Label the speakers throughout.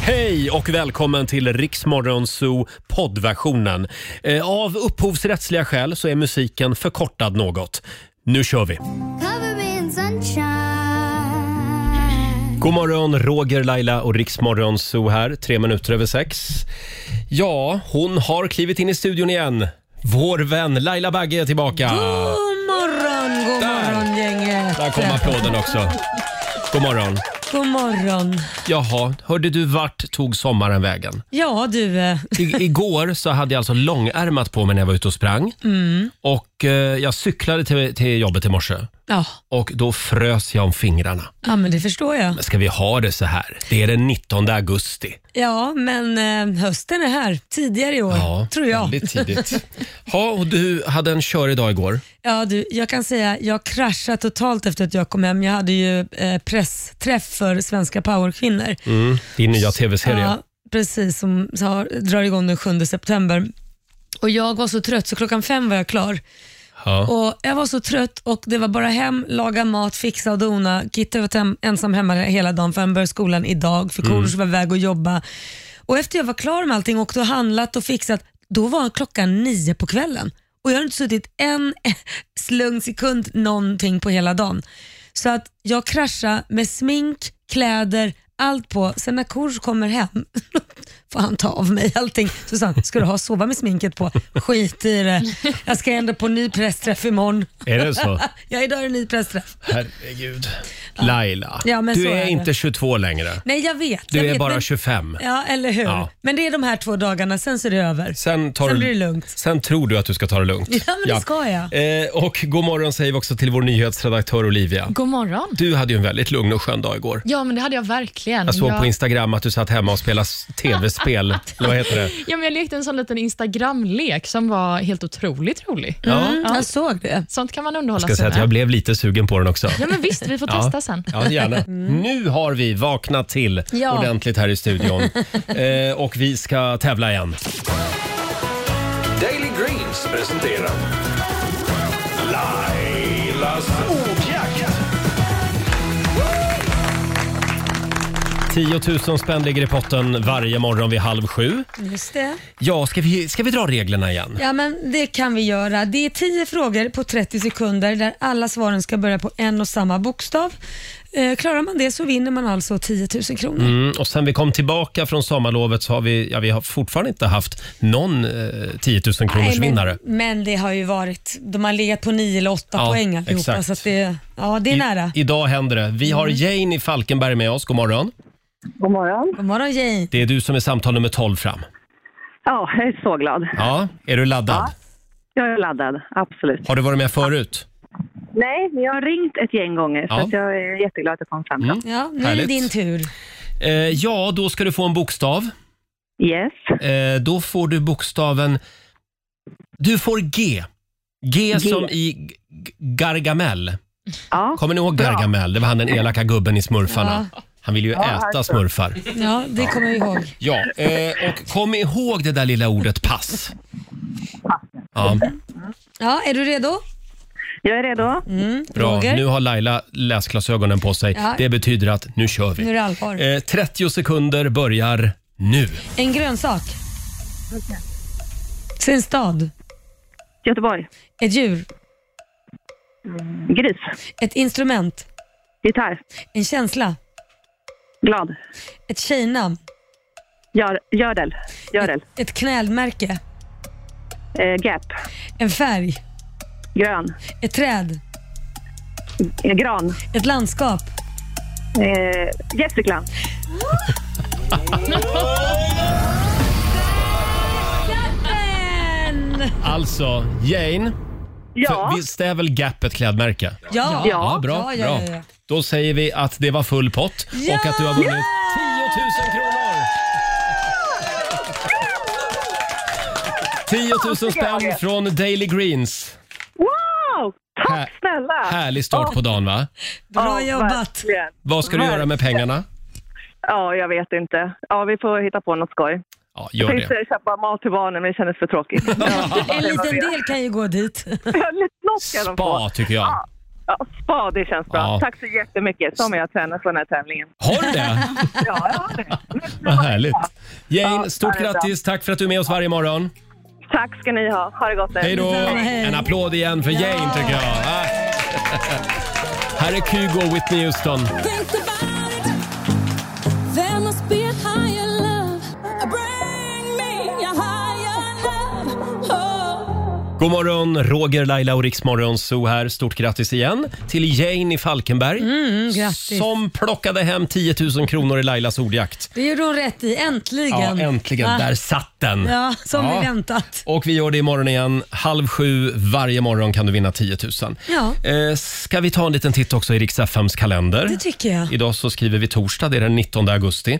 Speaker 1: Hej och välkommen till Riksmorgon Zoo poddversionen. Eh, Av upphovsrättsliga skäl så är musiken förkortad något. Nu kör vi!
Speaker 2: Cover me in sunshine.
Speaker 1: God morgon, Roger, Laila och Riksmorgon Zoo här, tre minuter över sex. Ja, hon har klivit in i studion igen. Vår vän Laila Bagge är tillbaka.
Speaker 3: God morgon, god
Speaker 1: Där.
Speaker 3: morgon gänget.
Speaker 1: Där kom applåden också. God morgon.
Speaker 3: God morgon.
Speaker 1: Jaha, hörde du vart tog sommaren vägen?
Speaker 3: Ja du, eh,
Speaker 1: I, igår så hade jag alltså långärmat på mig när jag var ute och sprang.
Speaker 3: mm.
Speaker 1: Och eh, jag cyklade till, till jobbet i morse
Speaker 3: ja,
Speaker 1: och då frös jag om fingrarna.
Speaker 3: ja men det förstår jag.
Speaker 1: Men ska vi ha det så här? Det är den 19 augusti.
Speaker 3: Ja men eh, hösten är här tidigare i år tror jag.
Speaker 1: väldigt tidigt. Ja, och du hade en kör idag igår.
Speaker 3: Ja, du, jag kan säga jag kraschade totalt efter att jag kom hem. Jag hade ju eh, pressträff för svenska powerkvinnor.
Speaker 1: Mm. Din nya tv-serie.
Speaker 3: Ja, precis, som har, drar igång den 7 september. Och Jag var så trött så klockan fem var jag klar.
Speaker 1: Ja.
Speaker 3: Och Jag var så trött och det var bara hem, laga mat, fixa och dona. Kitty var tem- ensam hemma hela dagen för han började skolan idag för Korosh var iväg och jobba. Och Efter jag var klar med allting och då handlat och fixat, då var klockan nio på kvällen. Och Jag har inte suttit en slung sekund någonting på hela dagen. Så att jag kraschade med smink, kläder, allt på. Sen när Korosh kommer hem får han ta av mig allting. Så sa han, ska du ha sova med sminket på? Skit i det. Jag ska ändå på ny pressträff imorgon.
Speaker 1: Är det så?
Speaker 3: Ja, idag är det ny pressträff.
Speaker 1: Herregud. Laila,
Speaker 3: Ja, men
Speaker 1: du
Speaker 3: så
Speaker 1: är,
Speaker 3: är det.
Speaker 1: inte 22 längre.
Speaker 3: Nej, jag vet.
Speaker 1: Du
Speaker 3: jag
Speaker 1: är
Speaker 3: vet,
Speaker 1: bara
Speaker 3: men,
Speaker 1: 25.
Speaker 3: Ja, eller hur?
Speaker 1: Ja.
Speaker 3: Men det är de här två dagarna, sen så är det över.
Speaker 1: Sen, tar
Speaker 3: Sen
Speaker 1: du,
Speaker 3: blir det lugnt.
Speaker 1: Sen tror du att du ska ta det lugnt.
Speaker 3: Ja, men det ska jag.
Speaker 1: Eh, och god morgon säger vi också till vår nyhetsredaktör Olivia.
Speaker 4: God morgon.
Speaker 1: Du hade ju en väldigt lugn och skön dag igår.
Speaker 4: Ja, men det hade jag verkligen.
Speaker 1: Jag såg
Speaker 4: jag,
Speaker 1: på Instagram att du satt hemma och spelade s- tv-spel. Eller vad heter det?
Speaker 4: ja, men jag lekte en sån liten Instagram-lek som var helt otroligt rolig.
Speaker 1: Ja.
Speaker 3: Mm, jag såg det.
Speaker 4: Sånt kan man
Speaker 1: Jag
Speaker 4: underhålla
Speaker 1: ska
Speaker 4: sig
Speaker 1: säga att
Speaker 4: med.
Speaker 1: jag blev lite sugen på den också.
Speaker 4: Ja, men visst, vi får
Speaker 1: Ja.
Speaker 4: testa sen. Mm.
Speaker 1: Ja, gärna.
Speaker 3: Mm.
Speaker 1: Nu har vi vaknat till
Speaker 3: Ja.
Speaker 1: ordentligt här i studion. Eh, och vi ska tävla igen.
Speaker 5: Daily Greens presenterar Lailas ordjakt.
Speaker 1: 10 000 spänn ligger i potten varje morgon vid halv sju.
Speaker 3: Just det.
Speaker 1: Ja, ska vi, ska vi dra reglerna igen?
Speaker 3: Ja, men det kan vi göra. Det är 10 frågor på 30 sekunder där alla svaren ska börja på en och samma bokstav. Eh, klarar man det så vinner man alltså 10 000 kronor.
Speaker 1: Mm, och sen vi kom tillbaka från sommarlovet så har vi, ja, vi har fortfarande inte haft någon eh, 10 000 kronors
Speaker 3: Nej,
Speaker 1: vinnare.
Speaker 3: Men, men det har ju varit, de har legat på 9 eller 8
Speaker 1: Ja,
Speaker 3: poäng allihopa.
Speaker 1: exakt.
Speaker 3: Så att det, ja, det är nära.
Speaker 1: I, idag händer det. Vi
Speaker 3: Mm.
Speaker 1: har Jane i Falkenberg med oss. God morgon.
Speaker 6: God morgon.
Speaker 3: God morgon Jane.
Speaker 1: Det är du som är samtal nummer 12 fram.
Speaker 6: Ja, jag är så glad.
Speaker 1: Ja, är du laddad?
Speaker 6: Jag är laddad, absolut.
Speaker 1: Har du varit med förut?
Speaker 6: Nej, men jag har ringt ett gäng gånger
Speaker 1: Ja.
Speaker 6: så att jag är jätteglad att jag kom fram.
Speaker 1: Mm.
Speaker 6: Mm.
Speaker 3: Ja, nu är
Speaker 1: Härligt.
Speaker 3: det din tur.
Speaker 1: Eh, ja, då ska du få en bokstav.
Speaker 6: Yes.
Speaker 1: Eh, då får du bokstaven... Du får G. G, som i G- G- Gargamel.
Speaker 6: Ja.
Speaker 1: Kommer ni ihåg Gargamel? Det var han den elaka gubben i Smurfarna. Han ville ju äta smurfar.
Speaker 3: Ja, det kommer jag ihåg.
Speaker 1: Ja, eh, och kom ihåg det där lilla ordet pass. Ja,
Speaker 3: Ja, är du redo? Mm,
Speaker 6: Jag är redo.
Speaker 1: bra.
Speaker 3: Roger?
Speaker 1: Nu har Laila läsglasögonen på sig.
Speaker 3: Ja.
Speaker 1: Det betyder att nu kör
Speaker 3: Nu är
Speaker 1: vi.
Speaker 3: det allvar.
Speaker 1: Eh, 30 sekunder börjar nu.
Speaker 3: En grönsak. Sin stad.
Speaker 6: Göteborg. Mm.
Speaker 3: Ett djur.
Speaker 6: Gris.
Speaker 3: Ett instrument.
Speaker 6: Gitarr.
Speaker 3: En känsla.
Speaker 6: Glad.
Speaker 3: Ett tjejnamn.
Speaker 6: Gör, gördel. Gördel.
Speaker 3: Ett knälmärke.
Speaker 6: Eh, gap.
Speaker 3: En färg.
Speaker 6: Grön.
Speaker 3: Ett träd.
Speaker 6: Eh, gran.
Speaker 3: Ett landskap.
Speaker 6: Eh, Gästrikland.
Speaker 3: En!
Speaker 1: Alltså, Jane.
Speaker 6: Ja.
Speaker 1: För visst är väl Gap ett klädmärke?
Speaker 3: Ja.
Speaker 6: Ja,
Speaker 1: bra.
Speaker 3: ja, ja,
Speaker 1: bra.
Speaker 3: ja, ja.
Speaker 1: Då säger vi att det var full pott och att du har vunnit 10 000 kronor! 10 000 spänn från Daily Greens.
Speaker 6: Wow! Tack
Speaker 1: Här-
Speaker 6: snälla!
Speaker 1: Härlig start på dagen, va?
Speaker 3: Bra
Speaker 6: Ja,
Speaker 3: jobbat.
Speaker 6: verkligen.
Speaker 1: Vad ska du göra med pengarna?
Speaker 6: Ja, jag vet inte. Ja, vi får hitta på något skoj.
Speaker 1: Ja,
Speaker 6: Jag
Speaker 1: gör det.
Speaker 6: tänkte köpa mat till barnen, men det kändes för tråkigt.
Speaker 3: En liten del kan ju gå dit.
Speaker 6: Något ska de få.
Speaker 1: Spa, tycker jag.
Speaker 6: Ja. Ja, spa, det känns bra.
Speaker 1: Ja.
Speaker 6: Tack så jättemycket. Som jag tränar för den här tävlingen.
Speaker 1: Har du det?
Speaker 6: Ja, jag har det.
Speaker 1: Vad härligt. Jane,
Speaker 6: Ja,
Speaker 1: stort
Speaker 6: det är bra.
Speaker 1: grattis. Tack för att du är med oss varje morgon.
Speaker 6: Tack ska ni ha. Ha det gott nu.
Speaker 1: Hej då!
Speaker 3: Detsamma, hej.
Speaker 1: En applåd igen för Jane tycker jag. Ah. Här är Kygo och Whitney Houston.
Speaker 2: Think about it. There must be a higher love. Bring me a higher love. Oh.
Speaker 1: God morgon, Roger, Laila och Riksmorgon Zoo här. Stort grattis igen till Jane i Falkenberg
Speaker 3: Mm, grattis.
Speaker 1: som plockade hem 10 000 kronor i Lailas ordjakt.
Speaker 3: Det gjorde hon rätt i, äntligen.
Speaker 1: Ja, äntligen.
Speaker 3: Va?
Speaker 1: Där satt den!
Speaker 3: Ja, som
Speaker 1: Ja.
Speaker 3: vi väntat.
Speaker 1: Och vi gör det imorgon igen. Halv sju varje morgon kan du vinna 10 000.
Speaker 3: Ja.
Speaker 1: Eh, ska vi ta en liten titt också i Rix FMs kalender?
Speaker 3: Det tycker jag.
Speaker 1: Idag så skriver vi torsdag, det är den 19 augusti.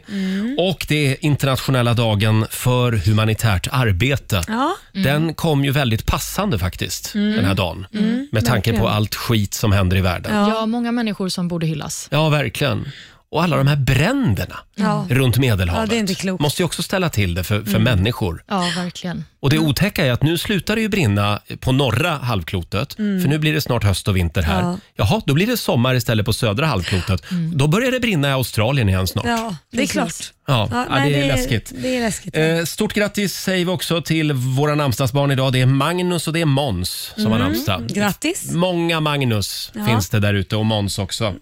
Speaker 1: Och det är internationella dagen för humanitärt arbete.
Speaker 3: Ja. Mm.
Speaker 1: Den kom ju väldigt passande faktiskt, den här dagen.
Speaker 3: Mm.
Speaker 1: Med tanke på allt skit som händer i världen. Ja,
Speaker 4: Ja. många människor som borde hyllas.
Speaker 1: verkligen. Och alla de här bränderna
Speaker 3: Ja.
Speaker 1: runt Medelhavet.
Speaker 3: Ja, det är inte klokt. Mm.
Speaker 1: Måste ju också ställa till det för, för människor.
Speaker 4: Ja, verkligen.
Speaker 1: Och det otäcka är att nu slutar det ju brinna på norra halvklotet. För nu blir det snart höst och vinter här.
Speaker 3: Ja.
Speaker 1: Jaha, då blir det sommar istället på södra halvklotet. Då börjar det brinna i Australien igen snart.
Speaker 3: ja, det är
Speaker 4: Precis.
Speaker 3: klart.
Speaker 1: Ja,
Speaker 3: Ja,
Speaker 1: ja,
Speaker 3: nej,
Speaker 1: det är läskigt.
Speaker 3: Det är läskigt.
Speaker 1: Eh, Stort grattis säger vi också till våra namnsdagsbarn idag. Det är Magnus och det är Mons som har namnsdag.
Speaker 3: Grattis.
Speaker 1: Många Magnus
Speaker 3: Ja.
Speaker 1: finns det där ute och Mons också.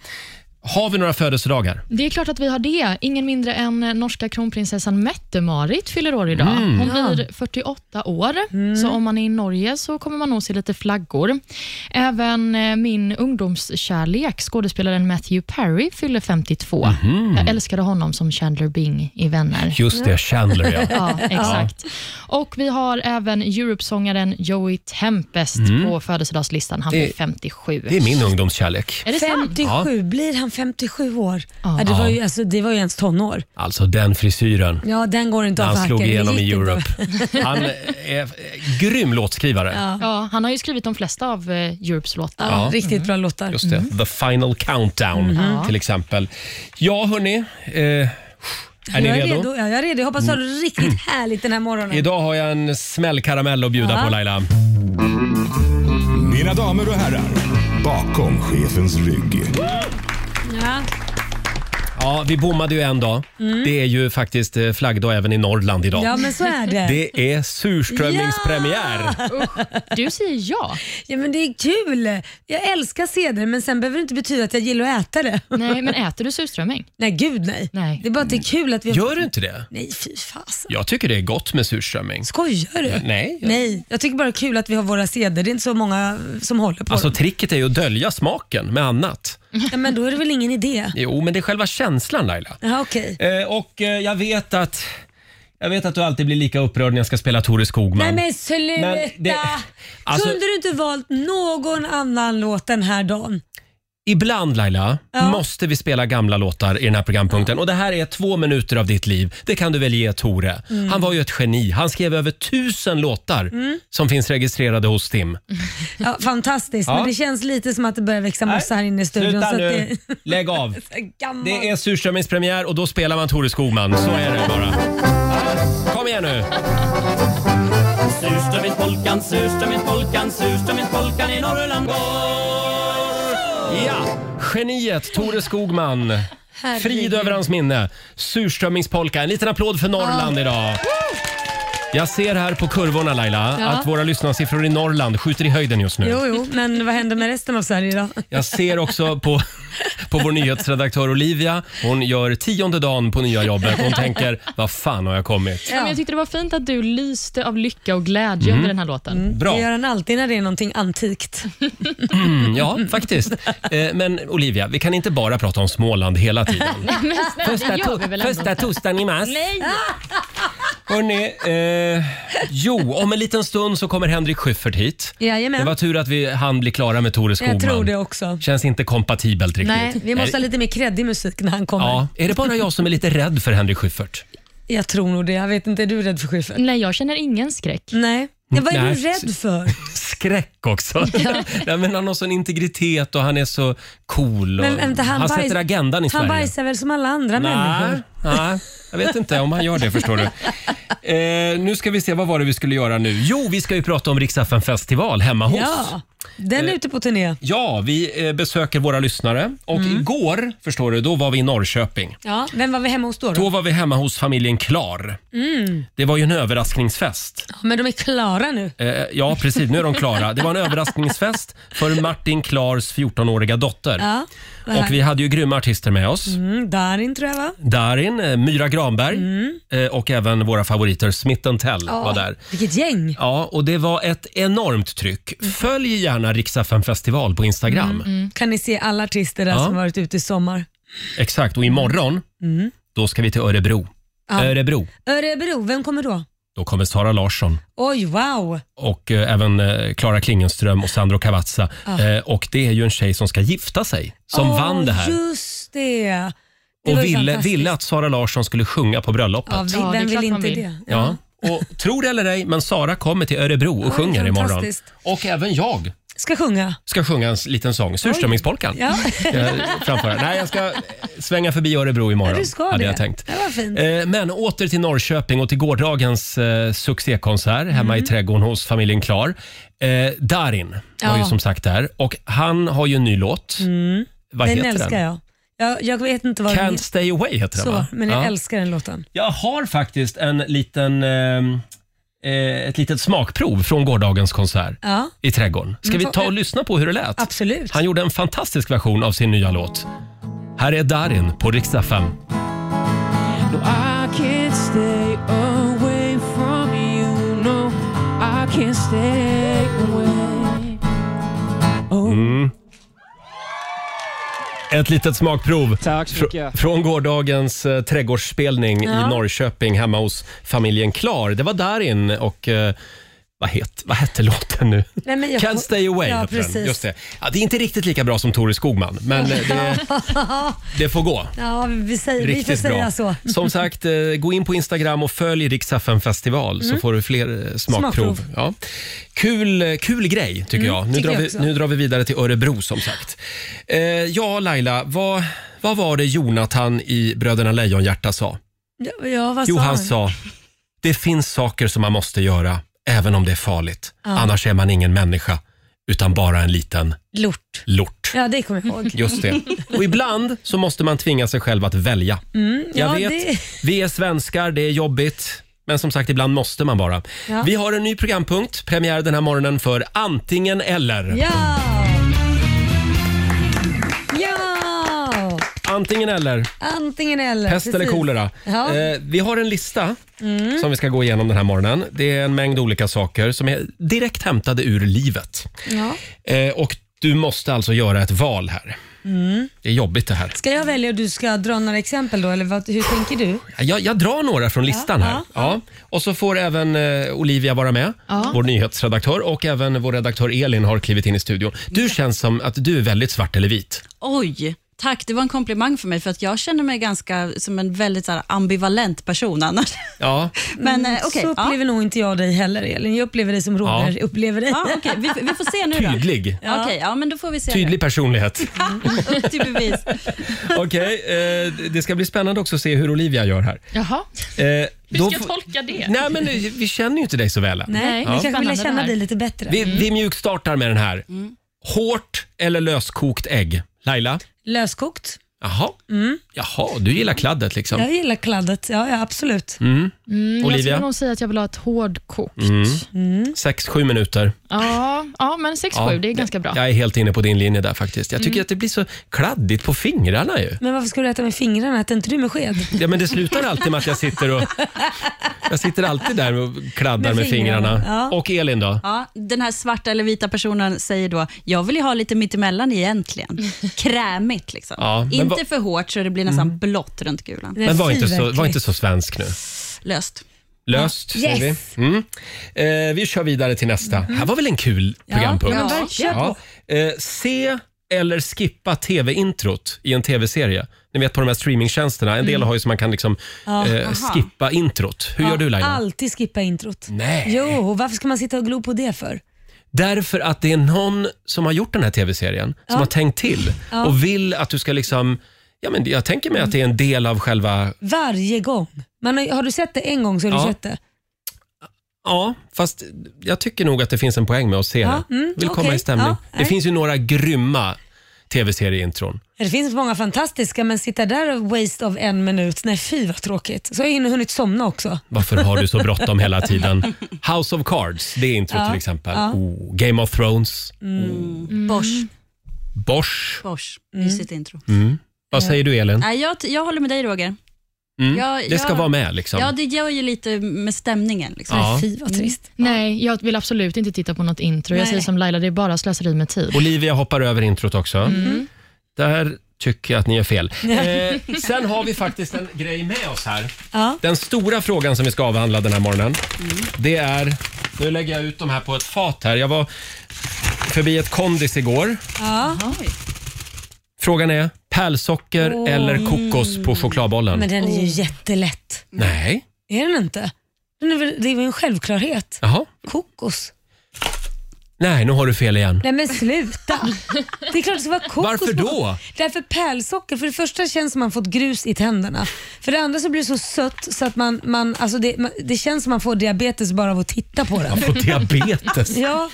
Speaker 1: Har vi några födelsedagar?
Speaker 4: Det är klart att vi har det. Ingen mindre än eh, norska kronprinsessan Mette-Marit fyller år idag.
Speaker 1: Mm.
Speaker 4: Hon blir 48 år, så om man är i Norge så kommer man nog se lite flaggor. Även eh, min ungdomskärlek, skådespelaren Matthew Perry, fyller 52. Jag älskade honom som Chandler Bing i Vänner.
Speaker 1: Mhm. Just det, Chandler ja.
Speaker 4: Ja, exakt. Och vi har även Europesångaren Joey Tempest på födelsedagslistan. Han blir
Speaker 1: Mm. Det-
Speaker 4: 57.
Speaker 1: Det är min ungdomskärlek.
Speaker 4: Är det sant?
Speaker 3: 57, blir han 57 år?
Speaker 4: Ja.
Speaker 3: Ja, det, var ju, alltså, det var ju ens tonår.
Speaker 1: Alltså den frisyren.
Speaker 3: Ja, den går inte av
Speaker 1: Han
Speaker 3: för
Speaker 1: slog
Speaker 3: hacken. Det
Speaker 1: igenom
Speaker 3: gick
Speaker 1: i
Speaker 3: inte.
Speaker 1: Europe. Han är eh, grym låtskrivare.
Speaker 4: Ja, han har ju skrivit de flesta av eh, Europes låtar.
Speaker 3: Ja, Riktigt bra låtar.
Speaker 1: Mm.
Speaker 3: Mm.
Speaker 1: Just det. The Final Countdown
Speaker 3: Mm-hmm.
Speaker 1: till exempel. Ja, hörni. Eh, är
Speaker 3: jag
Speaker 1: ni redo? Mm.
Speaker 3: Ja, jag är redo. Jag hoppas du har det riktigt härligt den här morgonen.
Speaker 1: Idag har jag en smällkaramell att bjuda
Speaker 3: Ja.
Speaker 1: på Laila.
Speaker 5: Mina damer och herrar, bakom chefens rygg.
Speaker 3: Ja.
Speaker 1: Ja, vi bommade ju en dag. Det är ju faktiskt eh, flaggdag även i Norrland idag.
Speaker 3: Mm. ja, men så är det.
Speaker 1: Det är surströmmingspremiär.
Speaker 4: Du säger ja.
Speaker 3: Ja, men det är kul. Jag älskar seder, men sen behöver det inte betyda att jag gillar att äta det.
Speaker 4: Nej, men äter du surströmming?
Speaker 3: Nej, gud nej.
Speaker 4: Nej.
Speaker 3: Det är bara att det är kul att vi...
Speaker 1: Gör du inte det?
Speaker 3: Nej, fy fasen.
Speaker 1: Jag tycker det är gott med surströmming.
Speaker 3: Skojar du?
Speaker 1: Nej.
Speaker 3: Nej, jag tycker bara det är kul att vi har våra seder. Det är inte så många eh, som håller på
Speaker 1: Alltså
Speaker 3: dem.
Speaker 1: tricket är ju att dölja smaken med annat.
Speaker 3: Ja, men då är det väl ingen idé.
Speaker 1: Jo, men det är själva känslan Laila.
Speaker 3: Ja, okej.
Speaker 1: Eh, och eh, jag vet att jag vet att du alltid blir lika upprörd när jag ska spela Thore
Speaker 3: Nej
Speaker 1: Skogman.
Speaker 3: men sluta!
Speaker 1: Men det- alltså-
Speaker 3: Kunde du inte valt någon annan låt den här dagen?
Speaker 1: Ibland Laila,
Speaker 3: Ja.
Speaker 1: måste vi spela gamla låtar i den här programpunkten. Och Det här är två minuter av ditt liv. Det kan du väl ge Tore.
Speaker 3: Mm.
Speaker 1: Han var ju ett geni. Han skrev över tusen låtar som finns registrerade hos Tim.
Speaker 3: Ja, fantastiskt,
Speaker 1: Ja.
Speaker 3: men det känns lite som att det börjar växa mossa här inne i studion.
Speaker 1: Sluta
Speaker 3: så att
Speaker 1: nu!
Speaker 3: Det,
Speaker 1: Lägg av.
Speaker 3: gammal.
Speaker 1: Det är surströmmingspremiär och då spelar man Thore Skogman. Så är det bara. Ja, Kom igen nu!
Speaker 7: Surströmmingspolkan, surströmmingspolkan, surströmmingspolkan i Norrland går.
Speaker 1: Ja! Geniet Tore Skogman.
Speaker 3: Herregud.
Speaker 1: Frid över hans minne. Surströmmingspolka. En liten applåd för Norrland idag. Jag ser här på kurvorna Laila
Speaker 3: Ja.
Speaker 1: att våra lyssnarsiffror i Norrland skjuter i höjden just nu.
Speaker 3: Jo, jo, men vad händer med resten av Sverige då?
Speaker 1: Jag ser också på, på vår nyhetsredaktör Olivia. Hon gör tionde dagen på nya jobbet. Hon tänker, vad fan har jag kommit?
Speaker 4: Ja. Men jag tyckte det var fint att du lyste av lycka och glädje
Speaker 1: Mm.
Speaker 4: över den här låten.
Speaker 1: Bra.
Speaker 3: Mm. Det gör han alltid när det är någonting antikt.
Speaker 1: Mm, ja, faktiskt. Eh, Men Olivia, vi kan inte bara prata om Småland hela tiden.
Speaker 4: Men snälla, det gör vi väl ändå inte?
Speaker 1: torsdagen i mars. Nej.
Speaker 3: Ah,
Speaker 1: Hörrni, eh, jo, om en liten stund så kommer Henrik Schyffert hit.
Speaker 3: Jajamän.
Speaker 1: Det var tur att vi hann bli klara med Tore Skogman.
Speaker 3: Jag tror det också.
Speaker 1: Känns inte kompatibelt riktigt.
Speaker 3: Nej, vi måste ha
Speaker 1: Är-
Speaker 3: lite mer kreddig musik när han kommer.
Speaker 1: Ja, är det bara jag som är lite rädd för Henrik Schyffert?
Speaker 3: Jag tror nog det. Jag vet inte, är du rädd för Schyffert?
Speaker 4: Nej, jag känner ingen skräck.
Speaker 3: Nej. Ja, vad är
Speaker 1: Nej.
Speaker 3: du rädd för?
Speaker 1: Skräck också. Nej, men han har sån integritet och han är så cool. Och
Speaker 3: Men vänta, han
Speaker 1: han
Speaker 3: bajs-
Speaker 1: sätter agendan i
Speaker 3: Han
Speaker 1: Sverige.
Speaker 3: bajsar väl som alla andra
Speaker 1: Nej,
Speaker 3: människor?
Speaker 1: nej, jag vet inte om han gör det förstår du. Eh, nu ska vi se, vad var det vi skulle göra nu? Jo, vi ska ju prata om Riksaffen festival hemma hos.
Speaker 3: Ja. Den är ute på turné.
Speaker 1: Ja, vi eh, besöker våra lyssnare och igår, förstår du, då var vi i Norrköping.
Speaker 3: Ja. Vem Mm. var vi hemma hos då? då?
Speaker 1: Då var vi hemma hos familjen Klar. Det var ju en överraskningsfest.
Speaker 3: Ja, Men de är klara nu.
Speaker 1: Eh, ja, precis. Nu är de klara. Det var en överraskningsfest för Martin Klars 14-åriga dotter.
Speaker 3: Ja, vad
Speaker 1: och
Speaker 3: härligt.
Speaker 1: vi hade ju grymma artister med oss.
Speaker 3: Mm, Darin tror jag va?
Speaker 1: Darin, eh, Myra Granberg
Speaker 3: Mm.
Speaker 1: eh, och även våra favoriter Smith Tell var där.
Speaker 3: Vilket gäng. Mm.
Speaker 1: Ja, och det var ett enormt tryck. Följ gärna Rix FM festival på Instagram.
Speaker 4: Mm,
Speaker 3: Kan ni se alla artister där
Speaker 1: Ja.
Speaker 3: som varit ute i sommar. Mm.
Speaker 1: Exakt, och imorgon då ska vi till Örebro.
Speaker 3: Ja.
Speaker 1: Örebro.
Speaker 3: Örebro, vem kommer då?
Speaker 1: Då kommer Sara Larsson
Speaker 3: Oj, wow.
Speaker 1: och eh, även eh, Clara Klingenström och Sandro Cavazza. Eh, och det är ju en tjej som ska gifta sig som
Speaker 3: Åh,
Speaker 1: vann det här.
Speaker 3: Just det. det
Speaker 1: Och
Speaker 3: var ju
Speaker 1: ville,
Speaker 3: fantastiskt.
Speaker 1: ville att Sara Larsson skulle sjunga på bröllopet.
Speaker 3: Ja,
Speaker 1: Ja.
Speaker 3: vi,
Speaker 4: Ja, det är
Speaker 3: vem vill
Speaker 4: klart man
Speaker 3: inte
Speaker 4: vill.
Speaker 3: det?
Speaker 1: Och tro det eller ej, men Sara kommer till Örebro och
Speaker 3: Oj,
Speaker 1: sjunger imorgon.
Speaker 3: fantastiskt.
Speaker 1: Och även jag
Speaker 3: Ska sjunga.
Speaker 1: ska sjunga en s- liten sång, Surströmmingspolkan.
Speaker 3: Ja.
Speaker 1: Jag framföra. Nej, jag ska eh, svänga förbi Örebro imorgon.
Speaker 3: Ja, du ska
Speaker 1: hade
Speaker 3: det.
Speaker 1: jag tänkt.
Speaker 3: Det var fint.
Speaker 1: Eh, Men åter till Norrköping och till gårdagens eh, succékonsert hemma
Speaker 3: Mm.
Speaker 1: i trädgården hos familjen Klar. Eh, Darin var ju
Speaker 3: Ja. Mm.
Speaker 1: som sagt där och han har ju en ny låt. Eh, Vad
Speaker 3: Den
Speaker 1: heter
Speaker 3: älskar
Speaker 1: den?
Speaker 3: jag. jag. Jag vet inte vad den
Speaker 1: Can't stay away heter den
Speaker 3: Så,
Speaker 1: va?
Speaker 3: men jag
Speaker 1: Ja.
Speaker 3: älskar den låten.
Speaker 1: Jag har faktiskt en liten, ehm, eh, ett litet smakprov från gårdagens konsert
Speaker 3: Ja,
Speaker 1: i trädgården. Ska vi ta och lyssna på hur det lät?
Speaker 3: absolut.
Speaker 1: Han gjorde en fantastisk version av sin nya låt. Här är Darin på riksdag 5.
Speaker 7: No, I can't stay away from you. No, I can't stay away. Oh.
Speaker 1: Mm. Ett litet smakprov
Speaker 7: Tack så
Speaker 1: fr-
Speaker 7: mycket.
Speaker 1: från gårdagens eh, trädgårdsspelning i Norrköping hemma hos familjen Klar. Det var Darin och eh, vad, het, vad hette låten nu?
Speaker 3: Nej, men jag-
Speaker 1: Can't stay away
Speaker 3: Ja,
Speaker 1: heter den.
Speaker 3: precis.
Speaker 1: Just det. Ja, det är inte riktigt lika bra som Thore Skogman, men eh, det, det får gå.
Speaker 3: Ja, vi, säger, vi får
Speaker 1: Riktigt
Speaker 3: säga
Speaker 1: bra.
Speaker 3: så.
Speaker 1: Som sagt, eh, gå in på Instagram och följ Riksaffen festival så får du fler eh, smakprov.
Speaker 3: Mm. Smakprov. Mm,
Speaker 1: Ja. Kul, eh, kul grej tycker jag. Nu,
Speaker 3: tycker
Speaker 1: drar
Speaker 3: jag
Speaker 1: vi,
Speaker 3: också.
Speaker 1: nu drar vi vidare till Örebro som sagt. Eh, ja, Laila, vad, vad var det Jonathan i Bröderna Lejonhjärta sa?
Speaker 3: Ja, Ja, vad
Speaker 1: Jo,
Speaker 3: sa han?
Speaker 1: han sa det finns saker som man måste göra även om det är farligt. Annars är man ingen människa utan bara en liten
Speaker 3: Lort.
Speaker 1: lort.
Speaker 3: Ja, det kommer jag ihåg.
Speaker 1: Just det. Och ibland så måste man tvinga sig själv att välja. Jag
Speaker 3: Mm, ja,
Speaker 1: vet,
Speaker 3: det-
Speaker 1: vi är svenskar, det är jobbigt. Men som sagt, ibland måste man bara.
Speaker 3: Ja.
Speaker 1: Vi har en ny programpunkt, premiär den här morgonen för Antingen eller.
Speaker 3: Ja! Ja!
Speaker 1: Antingen eller,
Speaker 3: Antingen eller.
Speaker 1: pest eller
Speaker 3: precis. Mm.
Speaker 1: kolera.
Speaker 3: Ja.
Speaker 1: Eh, vi har en lista som vi ska gå igenom den här morgonen. Det är en mängd olika saker som är direkt hämtade ur livet.
Speaker 3: Ja.
Speaker 1: Eh, och du måste alltså göra ett val här. Det är jobbigt det här.
Speaker 3: Mm. Ska jag välja och du ska dra några exempel då, eller vad, hur tänker du?
Speaker 1: Jag, jag drar några från listan
Speaker 3: Ja,
Speaker 1: här.
Speaker 3: ja,
Speaker 1: Ja. Och så får även eh, Olivia vara med,
Speaker 4: Ja.
Speaker 1: vår nyhetsredaktör. Och även vår redaktör Elin har klivit in i studion. Du känns som att du är väldigt svart eller vit.
Speaker 8: Oj, tack. Det var en komplimang för mig, för att jag känner mig ganska som en väldigt så här, ambivalent person annars.
Speaker 1: Ja,
Speaker 8: Men eh, okej,
Speaker 3: Mm, Så
Speaker 8: ja.
Speaker 3: upplever nog inte jag dig heller Elin. Jag upplever dig som Roger
Speaker 1: Ja.
Speaker 3: upplever dig.
Speaker 8: Ja, okej. vi, vi får se nu då.
Speaker 1: tydlig.
Speaker 8: Ja. Okej, ja, men då får vi se.
Speaker 1: Tydlig personlighet.
Speaker 8: Nu. Upp till bevis.
Speaker 1: Okej, eh, det ska bli spännande också att se hur Olivia gör här.
Speaker 4: Jaha,
Speaker 1: Eh,
Speaker 4: hur
Speaker 1: då
Speaker 4: ska jag
Speaker 1: får-
Speaker 4: tolka det?
Speaker 1: Nej, men eh, vi känner ju inte dig så väl. än.
Speaker 3: Nej,
Speaker 4: Nej,
Speaker 3: jag kanske vill
Speaker 4: spännande det
Speaker 3: känna
Speaker 4: här. Mm.
Speaker 3: dig lite bättre. Mm.
Speaker 1: Vi, vi mjukstartar med den här. Hårt eller löskokt ägg? Laila?
Speaker 3: Löskokt.
Speaker 1: Jaha. Jaha, du gillar kladdet liksom.
Speaker 3: Jag gillar kladdet. Ja, ja absolut.
Speaker 4: Mm, Jag
Speaker 1: Olivia? Mm.
Speaker 4: skulle nog säga att jag vill ha ett hårdkokt.
Speaker 3: Mm.
Speaker 1: Sex, sju minuter.
Speaker 4: Ja, ja, men 6-7,
Speaker 1: Ja,
Speaker 4: Mm. det är ganska bra.
Speaker 1: Jag är helt inne på din linje där faktiskt. Jag tycker att det blir så kladdigt på fingrarna ju.
Speaker 3: Men varför ska du äta med fingrarna? Äter inte du med sked?
Speaker 1: Ja, men det slutar alltid med att jag sitter och... Jag sitter alltid där och kladdar
Speaker 3: Med
Speaker 1: med fingrarna.
Speaker 3: fingrarna, ja.
Speaker 1: Och Elin då?
Speaker 8: Ja, den här svarta eller vita personen säger då, jag vill ju ha lite mittemellan egentligen. Krämigt liksom.
Speaker 1: Ja, men
Speaker 8: inte
Speaker 1: vad- Mm.
Speaker 8: för hårt så det blir nästan blått runt gulan.
Speaker 3: Nej,
Speaker 1: Men var inte,
Speaker 3: fy,
Speaker 1: så, var
Speaker 3: verkligen.
Speaker 1: inte så svensk nu.
Speaker 8: Löst.
Speaker 1: Löst, säger
Speaker 3: Yes. Mm.
Speaker 1: vi. Mm. Eh, vi kör vidare till nästa. Här var väl en kul programpunkt?
Speaker 3: ja, men verkligen.
Speaker 1: Eh, se eller skippa tv-introt i en tv-serie. Ni vet på de här streamingtjänsterna, en
Speaker 3: Mm.
Speaker 1: del har ju så man kan liksom eh, skippa introt. Hur gör du Laila?
Speaker 3: Alltid skippa introt.
Speaker 1: Nej.
Speaker 3: Jo, och varför ska man sitta och glo på det för?
Speaker 1: Därför att det är någon som har gjort den här tv-serien, som har tänkt till och vill att du ska liksom... Ja, men jag tänker mig att det är en del av själva...
Speaker 3: Varje gång. Man har, har du sett det en gång så har
Speaker 1: Ja.
Speaker 3: du sett det.
Speaker 1: Ja, fast jag tycker nog att det finns en poäng med att se
Speaker 3: Ja,
Speaker 1: det.
Speaker 3: mm,
Speaker 1: Vill komma
Speaker 3: okej.
Speaker 1: i stämning.
Speaker 3: Ja,
Speaker 1: det
Speaker 3: nej.
Speaker 1: finns ju några grymma tv-serieintron.
Speaker 3: Det finns många fantastiska, men sitta där och waste av en minut, nej fy vad tråkigt. Så har jag hunnit somna också.
Speaker 1: Varför har du så bråttom hela tiden? House of Cards, det är intro till exempel. Oh, Game of Thrones,
Speaker 3: Mm.
Speaker 8: Bosch.
Speaker 1: Bosch. Mm.
Speaker 8: Bosch. Mm. Mysigt intro.
Speaker 1: Vad säger du Elin?
Speaker 8: Nej, jag, jag håller med dig Roger.
Speaker 1: Mm.
Speaker 8: jag-
Speaker 1: det ska
Speaker 8: jag-
Speaker 1: vara med liksom.
Speaker 8: Ja, det gör ju lite med stämningen. Liksom.
Speaker 1: Ja.
Speaker 3: Fy vad trist.
Speaker 4: Mm. Nej, jag vill absolut inte titta på något intro. Jag
Speaker 3: Nej.
Speaker 4: säger som Laila, det är bara slöseri med tid.
Speaker 1: Olivia hoppar över introt också.
Speaker 3: Mm.
Speaker 1: Där tycker jag att ni är fel. Eh, sen har vi faktiskt en grej med oss här.
Speaker 3: Ja.
Speaker 1: Den stora frågan som vi ska avhandla den här morgonen,
Speaker 7: Mm.
Speaker 1: det är... Nu lägger jag ut dem här på ett fat här. Jag var förbi ett kondis igår. Frågan är pärlsocker eller kokos på chokladbollen?
Speaker 3: Men den är ju jättelätt.
Speaker 1: Nej.
Speaker 3: Är den inte? Den är väl, det är väl en självklarhet.
Speaker 1: Jaha.
Speaker 3: Kokos.
Speaker 1: Nej, nu har du fel igen.
Speaker 3: Nej men sluta! Det är klart det ska vara kokos.
Speaker 1: Varför
Speaker 3: på-
Speaker 1: då?
Speaker 3: Därför pärlsocker, för det första känns det som man fått grus i tänderna. För det andra så blir det så sött så att man, man, alltså det, man, det känns som man får diabetes bara av att titta på den.
Speaker 1: Jag får diabetes.
Speaker 3: Ja,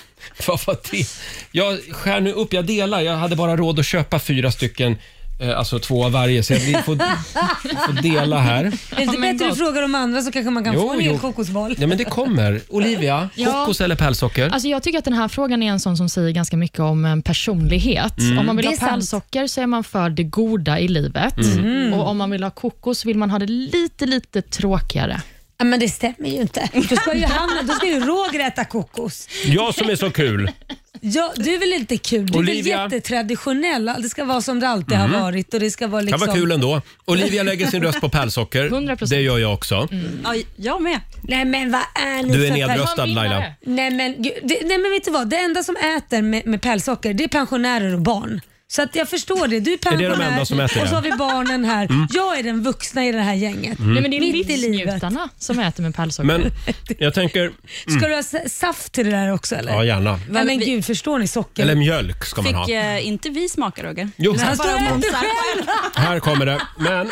Speaker 1: Vad var det? Jag skär nu upp, jag delar. Jag hade bara råd att köpa fyra stycken, eh, alltså två av varje. Så jag blir- får, får dela
Speaker 3: är
Speaker 1: här.
Speaker 3: det inte
Speaker 4: men
Speaker 3: bättre att
Speaker 4: gott.
Speaker 3: fråga de andra så kanske man kan
Speaker 1: Jo,
Speaker 3: få en hel
Speaker 1: jo.
Speaker 3: kokosboll?
Speaker 1: Ja, men det kommer. Olivia,
Speaker 4: Ja.
Speaker 1: kokos eller pärlsocker?
Speaker 4: Alltså jag tycker att den här frågan är en sån som säger ganska mycket om en personlighet.
Speaker 1: Mm.
Speaker 4: Om man vill
Speaker 3: Det
Speaker 4: ha
Speaker 3: är sant.
Speaker 4: pärlsocker så är man för det goda i livet.
Speaker 1: Mm.
Speaker 3: Mm.
Speaker 4: Och Om man vill ha kokos så vill man ha det lite, lite tråkigare.
Speaker 3: Ja, men det stämmer ju inte. Då ska ju, Hanna, då ska ju Roger äta kokos.
Speaker 1: Jag som är så kul.
Speaker 3: Ja, du är väl inte kul? Du är väl
Speaker 1: Olivia.
Speaker 3: jättetraditionell? Det ska vara som det alltid har varit. Och det ska vara
Speaker 1: Det
Speaker 3: liksom...
Speaker 1: var kul ändå. Olivia lägger sin röst på pärlsocker.
Speaker 4: 100%.
Speaker 1: Det gör jag också.
Speaker 3: Mm.
Speaker 8: Ja, jag med.
Speaker 3: Nej men vad är ni
Speaker 1: Du är
Speaker 3: för pers-
Speaker 1: nedröstad. Röstad, Laila.
Speaker 3: Nej men, gud, det, nej men vet du vad, det enda som äter med, med pärlsocker det är pensionärer och barn. Så att jag förstår det. Du är
Speaker 1: det de
Speaker 3: pensionär
Speaker 1: enda som äter
Speaker 3: och så
Speaker 1: det? Mm.
Speaker 3: har vi barnen här. Jag är den vuxna i det här gänget.
Speaker 4: Nej, men det är
Speaker 3: Mitt i livet.
Speaker 4: livsnjutarna som äter med pärlsocker.
Speaker 1: Men jag tänker,
Speaker 3: Ska du ha sa- saft till det där också eller?
Speaker 1: Mm. ja gärna.
Speaker 3: Nej, men
Speaker 8: Vi-
Speaker 3: gud, förstår ni socker?
Speaker 1: Eller mjölk ska man
Speaker 8: Fick
Speaker 1: ha.
Speaker 8: eh, inte vi smaka Roger?
Speaker 1: Jo,
Speaker 3: Han står och äter själv.
Speaker 1: här kommer det. Men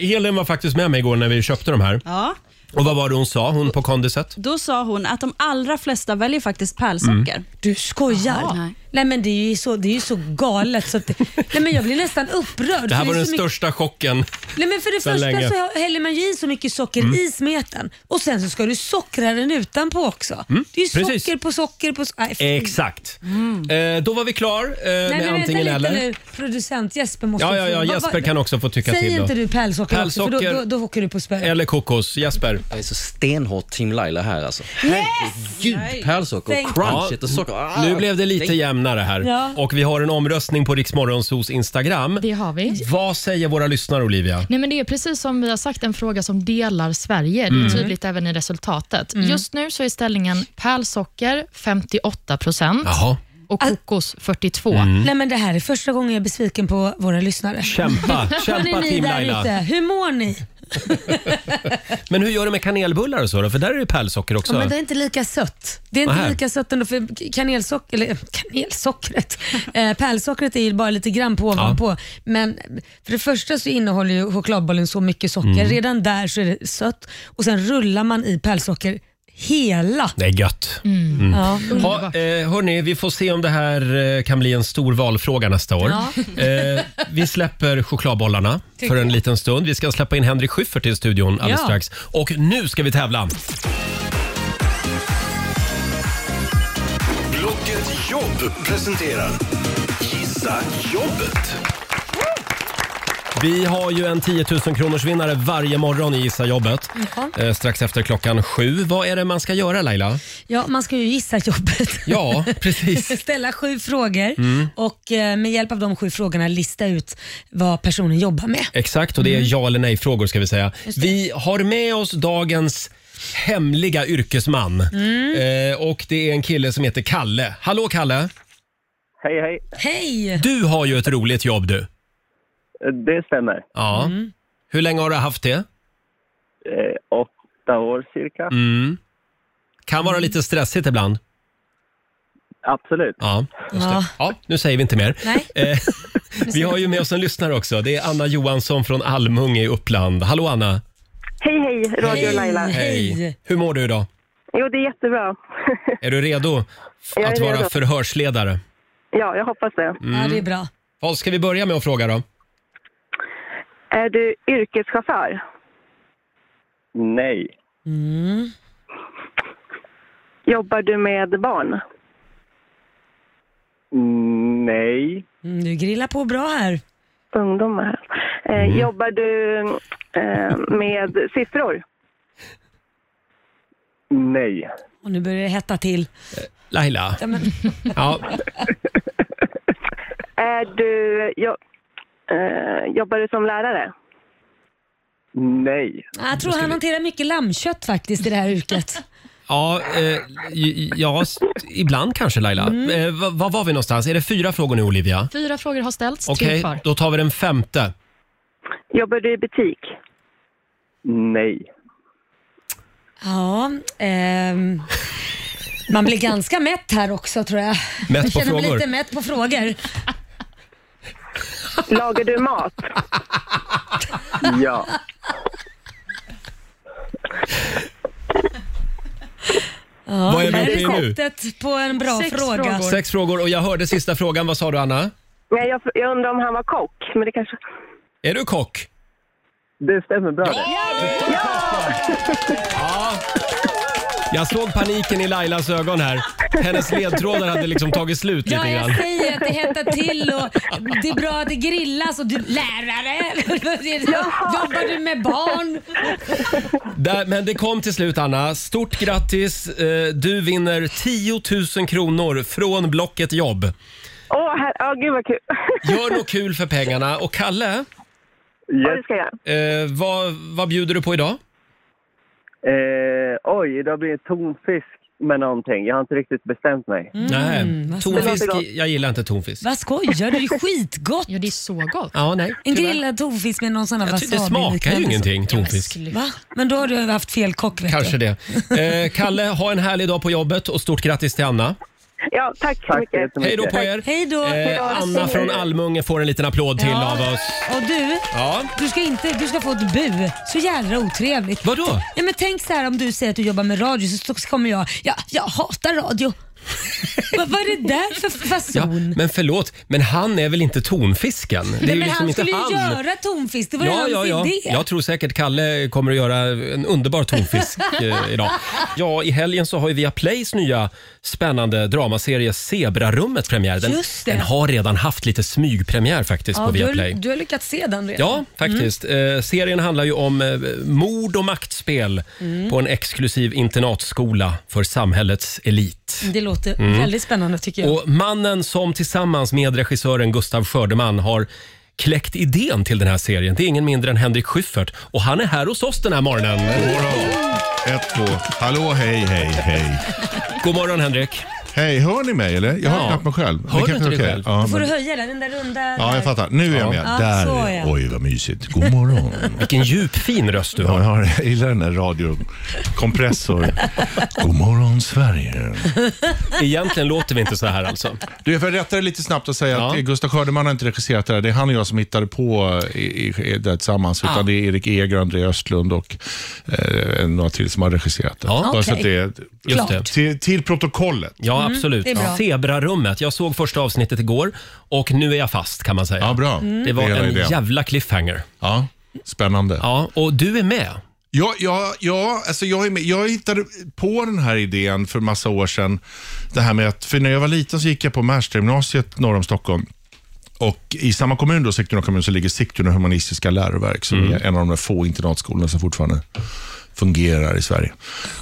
Speaker 1: eh, Elin var faktiskt med mig igår när vi köpte de här.
Speaker 8: Ja.
Speaker 1: Och vad var det hon sa, hon på kondiset?
Speaker 8: Då sa hon att de allra flesta väljer faktiskt pärlsocker.
Speaker 1: Mm.
Speaker 3: Du skojar?
Speaker 8: Jaha.
Speaker 3: Nej. men det är ju så, det är ju så galet så att, Nej men jag blir nästan upprörd.
Speaker 1: Det här
Speaker 3: för
Speaker 1: var
Speaker 3: är
Speaker 1: den
Speaker 3: så mycket-
Speaker 1: största chocken.
Speaker 3: Nej, men för det
Speaker 1: Sen
Speaker 3: första
Speaker 1: länge. Mm.
Speaker 3: så häller man ju i så mycket socker i smeten och sen så ska du sockra den utanpå också. det är ju
Speaker 1: Mm. precis.
Speaker 3: socker på socker på socker.
Speaker 1: Exakt.
Speaker 8: Mm.
Speaker 1: Eh, då var vi klar eh,
Speaker 3: Nej,
Speaker 1: med
Speaker 3: men vänta
Speaker 1: antingen
Speaker 3: lite
Speaker 1: eller.
Speaker 3: nu. Producent Jesper måste
Speaker 1: Ja, ja, ja,
Speaker 3: få- vad-
Speaker 1: Jesper
Speaker 3: vad-
Speaker 1: kan också få tycka
Speaker 3: Säg
Speaker 1: till.
Speaker 3: inte
Speaker 1: Då.
Speaker 3: du pärlsocker, också, för
Speaker 1: Pärlsocker- Eh,
Speaker 3: då, då, då åker du på spö.
Speaker 1: Eller kokos. Jesper.
Speaker 9: Jag är så stenhårt Team Laila här alltså. Herregud, pärlsocker
Speaker 3: Tänk-
Speaker 9: och
Speaker 1: Ja,
Speaker 9: crunchet och socker. Ah!
Speaker 1: Nu blev det lite
Speaker 9: Nej.
Speaker 1: jämnare här.
Speaker 3: Ja.
Speaker 1: Och vi har en omröstning på Riksmorgonsos Instagram.
Speaker 4: Det har vi.
Speaker 1: Vad säger våra lyssnare Olivia?
Speaker 4: Nej, men det är precis som vi har sagt en fråga som delar Sverige. Det är
Speaker 1: Mm.
Speaker 4: tydligt även i resultatet.
Speaker 3: Mm.
Speaker 4: Just nu så är ställningen pärlsocker 58 procent
Speaker 1: Jaha. Mm.
Speaker 4: och kokos 42.
Speaker 3: Nej men det här är första gången jag är besviken på våra lyssnare.
Speaker 1: Kämpa,
Speaker 3: Hörni,
Speaker 1: kämpa
Speaker 3: ni
Speaker 1: Team
Speaker 3: där ute,
Speaker 1: Laila.
Speaker 3: hur mår ni?
Speaker 1: Men hur gör du med kanelbullar och så då? För där är det pärlsocker också.
Speaker 3: Ja, men det är inte lika sött. Det är inte
Speaker 1: Nähä.
Speaker 3: lika sött ändå för kanelsocker, eller kanelsockret, eh, pärlsockret är ju bara lite grann på ovanpå. Men för det första så innehåller ju chokladbollen så mycket socker.
Speaker 1: Mm.
Speaker 3: Redan där så är det sött och sen rullar man i pärlsocker hela.
Speaker 1: Det är gött. Mm.
Speaker 3: Ja.
Speaker 1: Ha, eh, hörni, vi får se om det här eh, kan bli en stor valfråga nästa år. Eh, vi släpper chokladbollarna för en liten stund. Vi ska släppa in Henrik Schyffert i studion alldeles
Speaker 3: Ja.
Speaker 1: strax. Och nu ska vi tävla!
Speaker 5: Blocket Jobb presenterar Gissa Jobbet.
Speaker 1: Vi har ju en 10 000 kronors vinnare varje morgon i Gissa jobbet.
Speaker 3: Mm.
Speaker 1: Eh, strax efter klockan sju. Vad är det man ska göra Laila?
Speaker 3: ja, man ska ju gissa jobbet.
Speaker 1: Ja, precis. Mm.
Speaker 3: Ställa sju frågor och eh, med hjälp av de sju frågorna lista ut vad personen jobbar med.
Speaker 1: Exakt, och det är ja eller nej-frågor ska vi säga. Vi har med oss dagens hemliga yrkesman. Eh, och det är en kille som heter Kalle. Hallå Kalle!
Speaker 6: Hej, hej.
Speaker 3: Hej!
Speaker 1: Du har ju ett roligt jobb du.
Speaker 6: Eh, Det stämmer.
Speaker 1: Ja. Hur länge har du haft det?
Speaker 6: Eh, åtta år cirka.
Speaker 1: Mm. Kan
Speaker 10: Mm.
Speaker 1: vara lite stressigt ibland.
Speaker 6: Absolut.
Speaker 1: Ja, just det.
Speaker 3: Ja.
Speaker 1: ja nu säger vi inte mer.
Speaker 3: Nej.
Speaker 1: Eh, vi har ju med oss en lyssnare också. Det är Anna Johansson från Almunge i Uppland. Hallå Anna!
Speaker 6: Hej, hej, Roger och Laila.
Speaker 3: Hej.
Speaker 1: Hur mår du idag?
Speaker 6: Jo, det är jättebra.
Speaker 1: Är du redo
Speaker 6: Jag är
Speaker 1: att vara
Speaker 6: redo.
Speaker 1: förhörsledare? Mm.
Speaker 6: ja, jag hoppas det.
Speaker 3: Mm. Ja, det är bra.
Speaker 1: Vad ska vi börja med att fråga då?
Speaker 6: Är du yrkeschaufför?
Speaker 10: Nej.
Speaker 3: Mm.
Speaker 6: Jobbar du med barn?
Speaker 10: Mm, Nej.
Speaker 3: Mm, du grillar på bra här.
Speaker 6: Ungdomar. Eh, Jobbar du eh, med siffror?
Speaker 10: Nej.
Speaker 3: Och nu börjar det hetta till.
Speaker 1: Laila?
Speaker 3: Ja, men,
Speaker 1: Ja,
Speaker 6: Är du, jo, eh, jobbar du som lärare?
Speaker 10: Nej.
Speaker 3: jag tror han hanterar mycket lammkött faktiskt i det här yrket.
Speaker 1: ja, eh, j- ja s- ibland kanske Laila.
Speaker 3: Mm.
Speaker 1: Eh, va- Var var vi någonstans? Är det fyra frågor nu Olivia?
Speaker 4: Fyra frågor har ställts, typ tre
Speaker 1: Okej,
Speaker 4: kvar.
Speaker 1: då tar vi den femte.
Speaker 6: Jobbar du i butik?
Speaker 10: Nej.
Speaker 3: Ja, ehm, man blir ganska mätt här också tror jag.
Speaker 1: Mätt på
Speaker 3: jag känner mig
Speaker 1: frågor.
Speaker 3: lite mätt på frågor.
Speaker 6: Lagar du mat?
Speaker 10: Ja.
Speaker 3: Ja,
Speaker 1: Vad är vi
Speaker 3: här
Speaker 1: uppe i nu?
Speaker 3: receptet på en bra
Speaker 4: Sex
Speaker 3: fråga.
Speaker 4: frågor.
Speaker 1: Sex frågor och jag hörde sista frågan. Vad sa du Anna?
Speaker 6: Nej, jag, jag undrar om han var kock, men det kanske...
Speaker 1: Är du kock?
Speaker 10: Det stämmer bra det.
Speaker 1: Jag såg paniken i Lailas ögon här. Hennes ledtrådar hade liksom tagit slut
Speaker 3: Ja,
Speaker 1: lite grann.
Speaker 3: jag säger att det hettar till och det är bra att det grillas och du lärare. Jobbar du med barn?
Speaker 1: Där, men det kom till slut Anna. Stort grattis. Eh, Du vinner 10 000 kronor från Blocket Jobb.
Speaker 6: Åh, här, oh, gud vad kul!
Speaker 1: Gör något kul för pengarna. Och Kalle,
Speaker 6: Ja, det
Speaker 10: Yes.
Speaker 6: ska jag göra.
Speaker 1: eh, vad, vad bjuder du på idag?
Speaker 10: Eh, oj, idag blir det tonfisk med någonting. Jag har inte riktigt bestämt mig.
Speaker 3: Mm.
Speaker 1: Nej,
Speaker 6: Det
Speaker 1: tonfisk.
Speaker 6: låter gott.
Speaker 1: Jag gillar inte tonfisk.
Speaker 3: Vad skojar du? Det är skitgott.
Speaker 4: Ja, det är så gott.
Speaker 1: Ja, nej.
Speaker 3: En
Speaker 1: tyvärr.
Speaker 3: grillad tonfisk med någon sån här
Speaker 1: Jag tycker det
Speaker 3: wasabi.
Speaker 1: smakar ju
Speaker 3: liknande.
Speaker 1: ingenting, tonfisk.
Speaker 4: Sluta.
Speaker 3: Va? Men då har du haft fel kock vet
Speaker 1: Kanske
Speaker 3: du.
Speaker 1: det. Eh, Kalle, ha en härlig dag på jobbet och stort grattis till Anna.
Speaker 6: Ja, tack så
Speaker 10: Tack så
Speaker 6: mycket.
Speaker 10: jättemycket.
Speaker 1: Hej då på er!
Speaker 3: Hej då.
Speaker 1: Eh, Anna från Almunge får en liten applåd till
Speaker 3: Ja.
Speaker 1: av oss.
Speaker 3: Och du,
Speaker 1: Ja.
Speaker 3: du ska, inte, du ska få ett bu. Så jävla otrevligt.
Speaker 1: Vadå?
Speaker 3: Ja, men tänk så här om du säger att du jobbar med radio så så kommer jag, ja, jag hatar radio. vad, vad är det där för
Speaker 1: Ja,
Speaker 3: fason?
Speaker 1: men förlåt, men han är väl inte tonfisken? Det
Speaker 3: Nej,
Speaker 1: är ju
Speaker 3: men
Speaker 1: liksom
Speaker 3: han
Speaker 1: inte
Speaker 3: skulle
Speaker 1: han.
Speaker 3: ju göra tonfisk, det var ju
Speaker 1: Ja,
Speaker 3: hans
Speaker 1: ja, ja.
Speaker 3: idé.
Speaker 1: Jag tror säkert Kalle kommer att göra en underbar tonfisk eh, idag. Ja, i helgen så har ju Viaplays nya spännande dramaserie Zebrarummet premiär. Den,
Speaker 3: Just det.
Speaker 1: den har redan haft lite smygpremiär faktiskt
Speaker 3: ja,
Speaker 1: på
Speaker 3: du, har,
Speaker 1: Viaplay.
Speaker 3: du har lyckats se den redan. Mm.
Speaker 1: Ja, faktiskt. Eh, serien handlar ju om eh, mord och maktspel
Speaker 3: Mm.
Speaker 1: på en exklusiv internatskola för samhällets elit.
Speaker 3: Det låter
Speaker 5: Mm.
Speaker 3: väldigt spännande tycker jag.
Speaker 1: Och mannen som tillsammans med regissören Gustav Skördeman har kläckt idén till den här serien, det är ingen mindre än Henrik Schyffert. Och han är här hos oss den här morgonen.
Speaker 5: Ett, två. Hallå, hej, hej, hej.
Speaker 1: God morgon Henrik.
Speaker 5: Hej, hör ni mig eller? Jag hör
Speaker 1: Ja.
Speaker 5: knappt mig själv.
Speaker 1: Hör du
Speaker 5: kanske
Speaker 1: inte
Speaker 5: är
Speaker 1: dig
Speaker 5: okej.
Speaker 1: själv?
Speaker 5: Ja,
Speaker 3: Får
Speaker 5: men-
Speaker 3: du höja den, den där runda?
Speaker 5: ja, jag fattar. Nu är jag med.
Speaker 3: Ja,
Speaker 5: Där.
Speaker 3: så ja.
Speaker 5: Oj, vad mysigt. God morgon.
Speaker 1: Vilken djupfin röst du
Speaker 5: Ja,
Speaker 1: har.
Speaker 5: jag har- jag gillar den där radiokompressor. God morgon, Sverige.
Speaker 1: Egentligen låter vi inte så här alltså.
Speaker 5: Du, jag får rätta dig lite snabbt och säga
Speaker 1: Ja.
Speaker 5: att Gustav Skördeman har inte regisserat det här. Det är han och jag som hittade på i, i, i, det här tillsammans.
Speaker 1: Ah.
Speaker 5: Utan det är Erik Eger, André Östlund och eh, några till som har regisserat det.
Speaker 1: Ja.
Speaker 5: Bara så
Speaker 3: Okej.
Speaker 5: att det är,
Speaker 1: Just det.
Speaker 5: Till, till protokollet.
Speaker 1: Ja, absolut.
Speaker 3: Mm, det är bra.
Speaker 1: Zebrarummet. Jag såg första avsnittet igår och nu är jag fast kan man säga.
Speaker 5: Ja, bra.
Speaker 1: Det var
Speaker 5: är hela
Speaker 1: en
Speaker 5: idén.
Speaker 1: jävla cliffhanger.
Speaker 5: Ja, spännande.
Speaker 1: Ja, och du är med.
Speaker 5: Ja, ja, ja alltså jag, är med. jag hittade på den här idén för massa år sedan. Det här med att, för när jag var liten så gick jag på Märsta gymnasiet norr om Stockholm. Och I samma kommun, då, Sigtuna kommun, så ligger Sigtuna humanistiska läroverk som är en av de få internatskolorna som fortfarande fungerar i Sverige.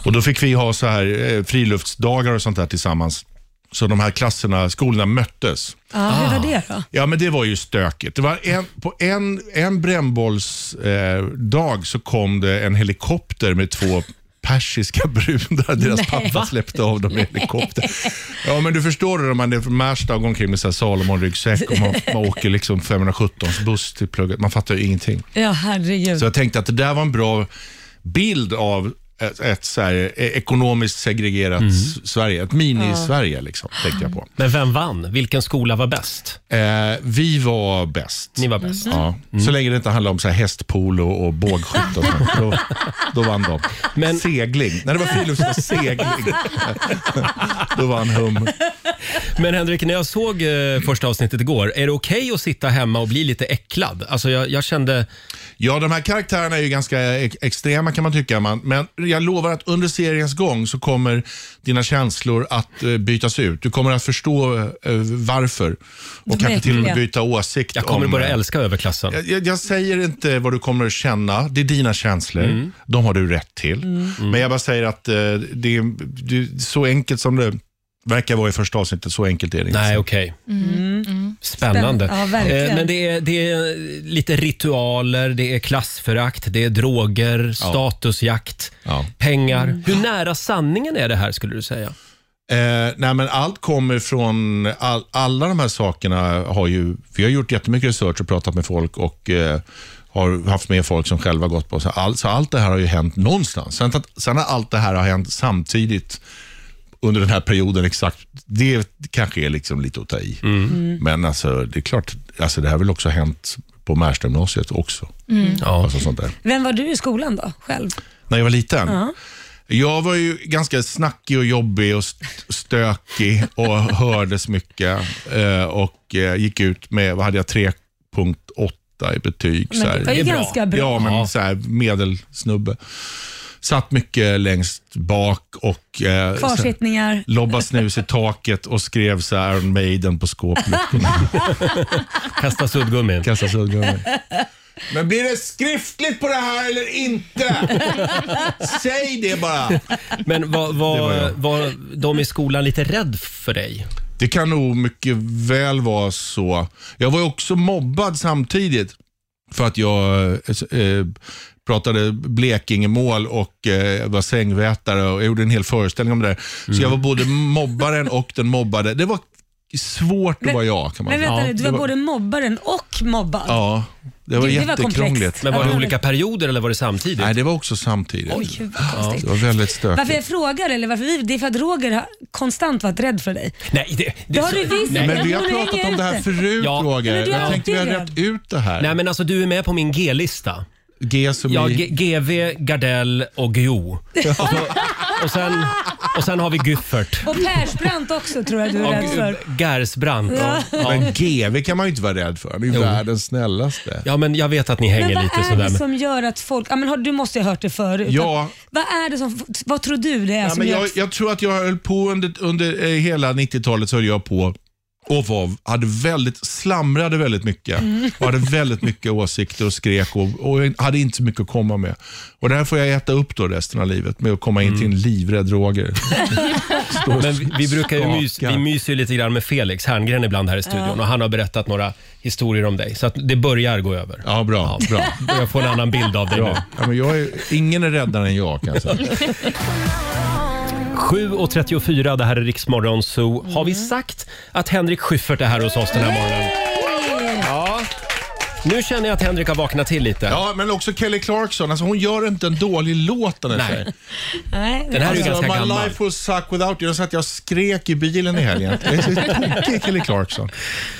Speaker 5: Och Då fick vi ha så här eh, friluftsdagar och sånt där tillsammans. Så de här klasserna, skolorna möttes. Ah.
Speaker 3: Ja, hur var det då?
Speaker 5: Ja, men det var ju stökigt. Det var en, på en, en brännbollsdag eh, dag så kom det en helikopter med två persiska brudar. Deras pappa släppte av dem i helikopter. Ja, men du förstår det, man är från Märsta och går omkring med så här Salomon-ryggsäck och man, man åker liksom 517 buss till plugget. Man fattar ju ingenting.
Speaker 3: Ja, herregud.
Speaker 5: Så jag tänkte att det där var en bra bild av ett, ett så här, eh, ekonomiskt segregerat s- Sverige. Ett mini-Sverige, liksom, tänkte jag på.
Speaker 1: Mm. Men vem vann? Vilken skola var bäst?
Speaker 5: Eh, vi var bäst.
Speaker 1: Ni var bäst.
Speaker 5: Ja. Så länge det inte handlar om så här hästpolo och bågskytte och sånt, Mm. då, då vann de.
Speaker 1: Men-
Speaker 5: Segling. När det var friluftsliv, segling. då vann hum.
Speaker 1: Men Henrik, när jag såg eh, första avsnittet igår, är det okej att sitta hemma och bli lite äcklad? Alltså jag, jag kände...
Speaker 5: Ja, de här karaktärerna är ju ganska ex- extrema kan man tycka. Man. Men jag lovar att under seriens gång så kommer dina känslor att eh, bytas ut. Du kommer att förstå eh, varför. Och kanske till och med
Speaker 3: Verkligen.
Speaker 5: byta åsikt.
Speaker 1: Jag kommer
Speaker 5: om,
Speaker 1: börja
Speaker 5: eh,
Speaker 1: älska överklassen.
Speaker 5: Jag- Jag, jag säger inte vad du kommer att känna. Det är dina känslor.
Speaker 1: Mm.
Speaker 5: De har du rätt till. Men jag bara säger att eh, det, är, det är så enkelt som det verkar vara i första avsnittet. Så enkelt är det inte.
Speaker 1: Nej, okej.
Speaker 3: Mm.
Speaker 1: Spännande.
Speaker 3: Spänn- ja, verkligen.
Speaker 1: Eh, Men det är, det är lite ritualer, det är klassförakt, det är droger, statusjakt,
Speaker 5: Ja.
Speaker 1: pengar. Hur nära sanningen är det här skulle du säga?
Speaker 5: Eh, nej, men allt kommer från, all, alla de här sakerna har ju, vi har gjort jättemycket research och pratat med folk och eh, har haft med folk som själva gått på. Så, all, så allt det här har ju hänt någonstans. Sen, att, sen att allt det här har hänt samtidigt under den här perioden exakt, det kanske är liksom lite att ta i. Men alltså, det är klart, alltså, det här har väl också hänt på Märstagymnasiet också.
Speaker 1: Ja.
Speaker 5: Alltså, sånt där.
Speaker 3: Mm. Vem var du i skolan då, själv?
Speaker 5: När jag var liten? Jag var ju ganska snackig och jobbig och st- stökig och hördes mycket. eh, Och eh, gick ut med, vad hade jag, 3.8 i betyg.
Speaker 3: Men
Speaker 5: så här.
Speaker 3: det var ju
Speaker 1: det är bra.
Speaker 3: ganska bra.
Speaker 5: Ja, men så här, medelsnubbe. Satt mycket längst bak och eh, så här,
Speaker 3: Kvarsittningar.
Speaker 5: lobba snus i taket och skrev så här Iron Maiden på skåpluckorna.
Speaker 1: Kasta suddgummin.
Speaker 5: Kassasuddgummi. Men blir det skriftligt på det här eller inte? Säg det bara.
Speaker 1: Men var, var,
Speaker 5: Det var
Speaker 1: var,
Speaker 5: jag.
Speaker 1: de i skolan lite rädd för dig?
Speaker 5: Det kan nog mycket väl vara så. Jag var ju också mobbad samtidigt för att jag eh, eh, pratade Blekingemål och eh, var sängvätare och jag gjorde en hel föreställning om det där. Så jag var både mobbaren och den mobbade. Det var svårt att
Speaker 3: Men-
Speaker 5: vara jag kan man
Speaker 3: Men
Speaker 5: säga.
Speaker 3: vänta
Speaker 1: Ja,
Speaker 3: nu, du
Speaker 5: det
Speaker 3: var,
Speaker 5: var-
Speaker 3: både mobbaren och mobbad.
Speaker 5: Ja, det var
Speaker 3: Det- det var
Speaker 5: jättekrångligt.
Speaker 3: komplext.
Speaker 1: Men var
Speaker 3: Ja,
Speaker 1: det
Speaker 3: men-
Speaker 1: olika perioder eller var det samtidigt?
Speaker 5: Nej, det var också samtidigt.
Speaker 3: Oj, gud, vad konstigt.
Speaker 5: Det var väldigt
Speaker 3: Varför
Speaker 5: stökigt.
Speaker 3: jag frågar, eller varför vi, det är för att Roger har konstant varit rädd för dig.
Speaker 1: Nej, det, det,
Speaker 3: Det har du visst.
Speaker 1: Nej.
Speaker 5: Men vi har
Speaker 3: Hon hänger
Speaker 5: pratat om det här
Speaker 3: efter.
Speaker 5: förut
Speaker 1: Ja.
Speaker 5: Roger.
Speaker 3: Men du har
Speaker 5: Jag tänkte vi har
Speaker 3: alltid
Speaker 5: rätt ut det här.
Speaker 1: Nej, men alltså du är med på min G-lista.
Speaker 5: G som
Speaker 1: Ja,
Speaker 5: i...
Speaker 1: G- GV, Gardell och Guillou. Och, så, och, sen, och sen har vi Gyffert.
Speaker 3: Och Persbrandt också tror jag du är rädd för.
Speaker 1: Och Gersbrandt. Ja.
Speaker 5: Men GV kan man ju inte vara rädd för. Han är ju världens snällaste.
Speaker 1: ja, men jag vet att ni
Speaker 3: Men
Speaker 1: hänger
Speaker 3: vad
Speaker 1: lite
Speaker 3: är
Speaker 1: sådär.
Speaker 3: det
Speaker 1: men-
Speaker 3: som gör att folk... Ja, men har, du måste ju ha hört det förut.
Speaker 5: Ja.
Speaker 3: Att, vad är det som... Vad tror du det är
Speaker 5: Ja,
Speaker 3: som
Speaker 5: men
Speaker 3: gör
Speaker 5: jag,
Speaker 3: att...
Speaker 5: jag tror att jag höll på under, under eh, hela 90-talet så höll jag på och var, hade väldigt, slamrade väldigt mycket
Speaker 3: Mm.
Speaker 5: och hade väldigt mycket åsikter och skrek och, och hade inte så mycket att komma med. Och Det här får jag äta upp då resten av livet med att komma in till en livrädd Roger. Stå och
Speaker 1: Men vi, vi brukar ju mys,
Speaker 5: skaka.
Speaker 1: vi myser ju lite grann med Felix Herngren ibland här i studion och han har berättat några historier om dig. Så att det börjar gå över.
Speaker 5: Ja, bra. bra.
Speaker 1: Jag får en annan bild av dig nu.
Speaker 5: bra. Ja, men jag är, ingen är räddare än jag kan jag säga.
Speaker 1: 7.34, det här är Riksmorgon Zoo. Har
Speaker 3: Mm.
Speaker 1: vi sagt att Henrik Schyffert är här hos oss den här morgonen? Ja. Nu känner jag att Henrik har vaknat till lite.
Speaker 5: Ja, men också Kelly Clarkson. Alltså, hon gör inte en dålig låt den här
Speaker 1: Nej.
Speaker 5: tjejen.
Speaker 3: Nej,
Speaker 1: Den här är ju
Speaker 5: Alltså,
Speaker 1: ganska
Speaker 5: my
Speaker 1: gammal.
Speaker 5: life will suck without you. Jag satt jag skrek i bilen i helgen. Det är så tokig Kelly Clarkson.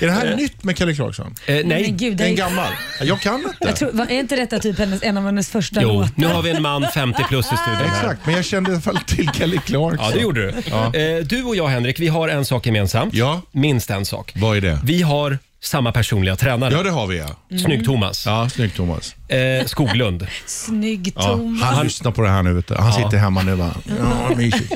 Speaker 5: Är det här nytt med Kelly Clarkson?
Speaker 1: Eh,
Speaker 3: nej.
Speaker 1: nej.
Speaker 3: Men gud, det är,
Speaker 5: En
Speaker 3: ju-
Speaker 5: gammal? Jag kan inte.
Speaker 3: jag tror, var, är inte detta typ hennes, en av hennes första
Speaker 1: Jo,
Speaker 3: låtar?
Speaker 1: nu har vi en man 50 plus i studion här.
Speaker 5: Exakt, men jag kände i alla fall till Kelly Clarkson.
Speaker 1: Ja, det gjorde du.
Speaker 5: Ja.
Speaker 1: Eh, du och jag, Henrik, vi har en sak gemensamt.
Speaker 5: Ja.
Speaker 1: Minst en sak.
Speaker 5: Vad är det?
Speaker 1: Vi har samma personliga tränare.
Speaker 5: Ja, det har vi ja.
Speaker 1: Snygg-Thomas.
Speaker 5: Ja, snyggt Thomas.
Speaker 1: Eh, Skoglund.
Speaker 3: Snygg
Speaker 5: Ja,
Speaker 3: Thomas.
Speaker 5: han lyssnar på det här nu. Vet du. Han sitter hemma nu va. Ja, mysigt.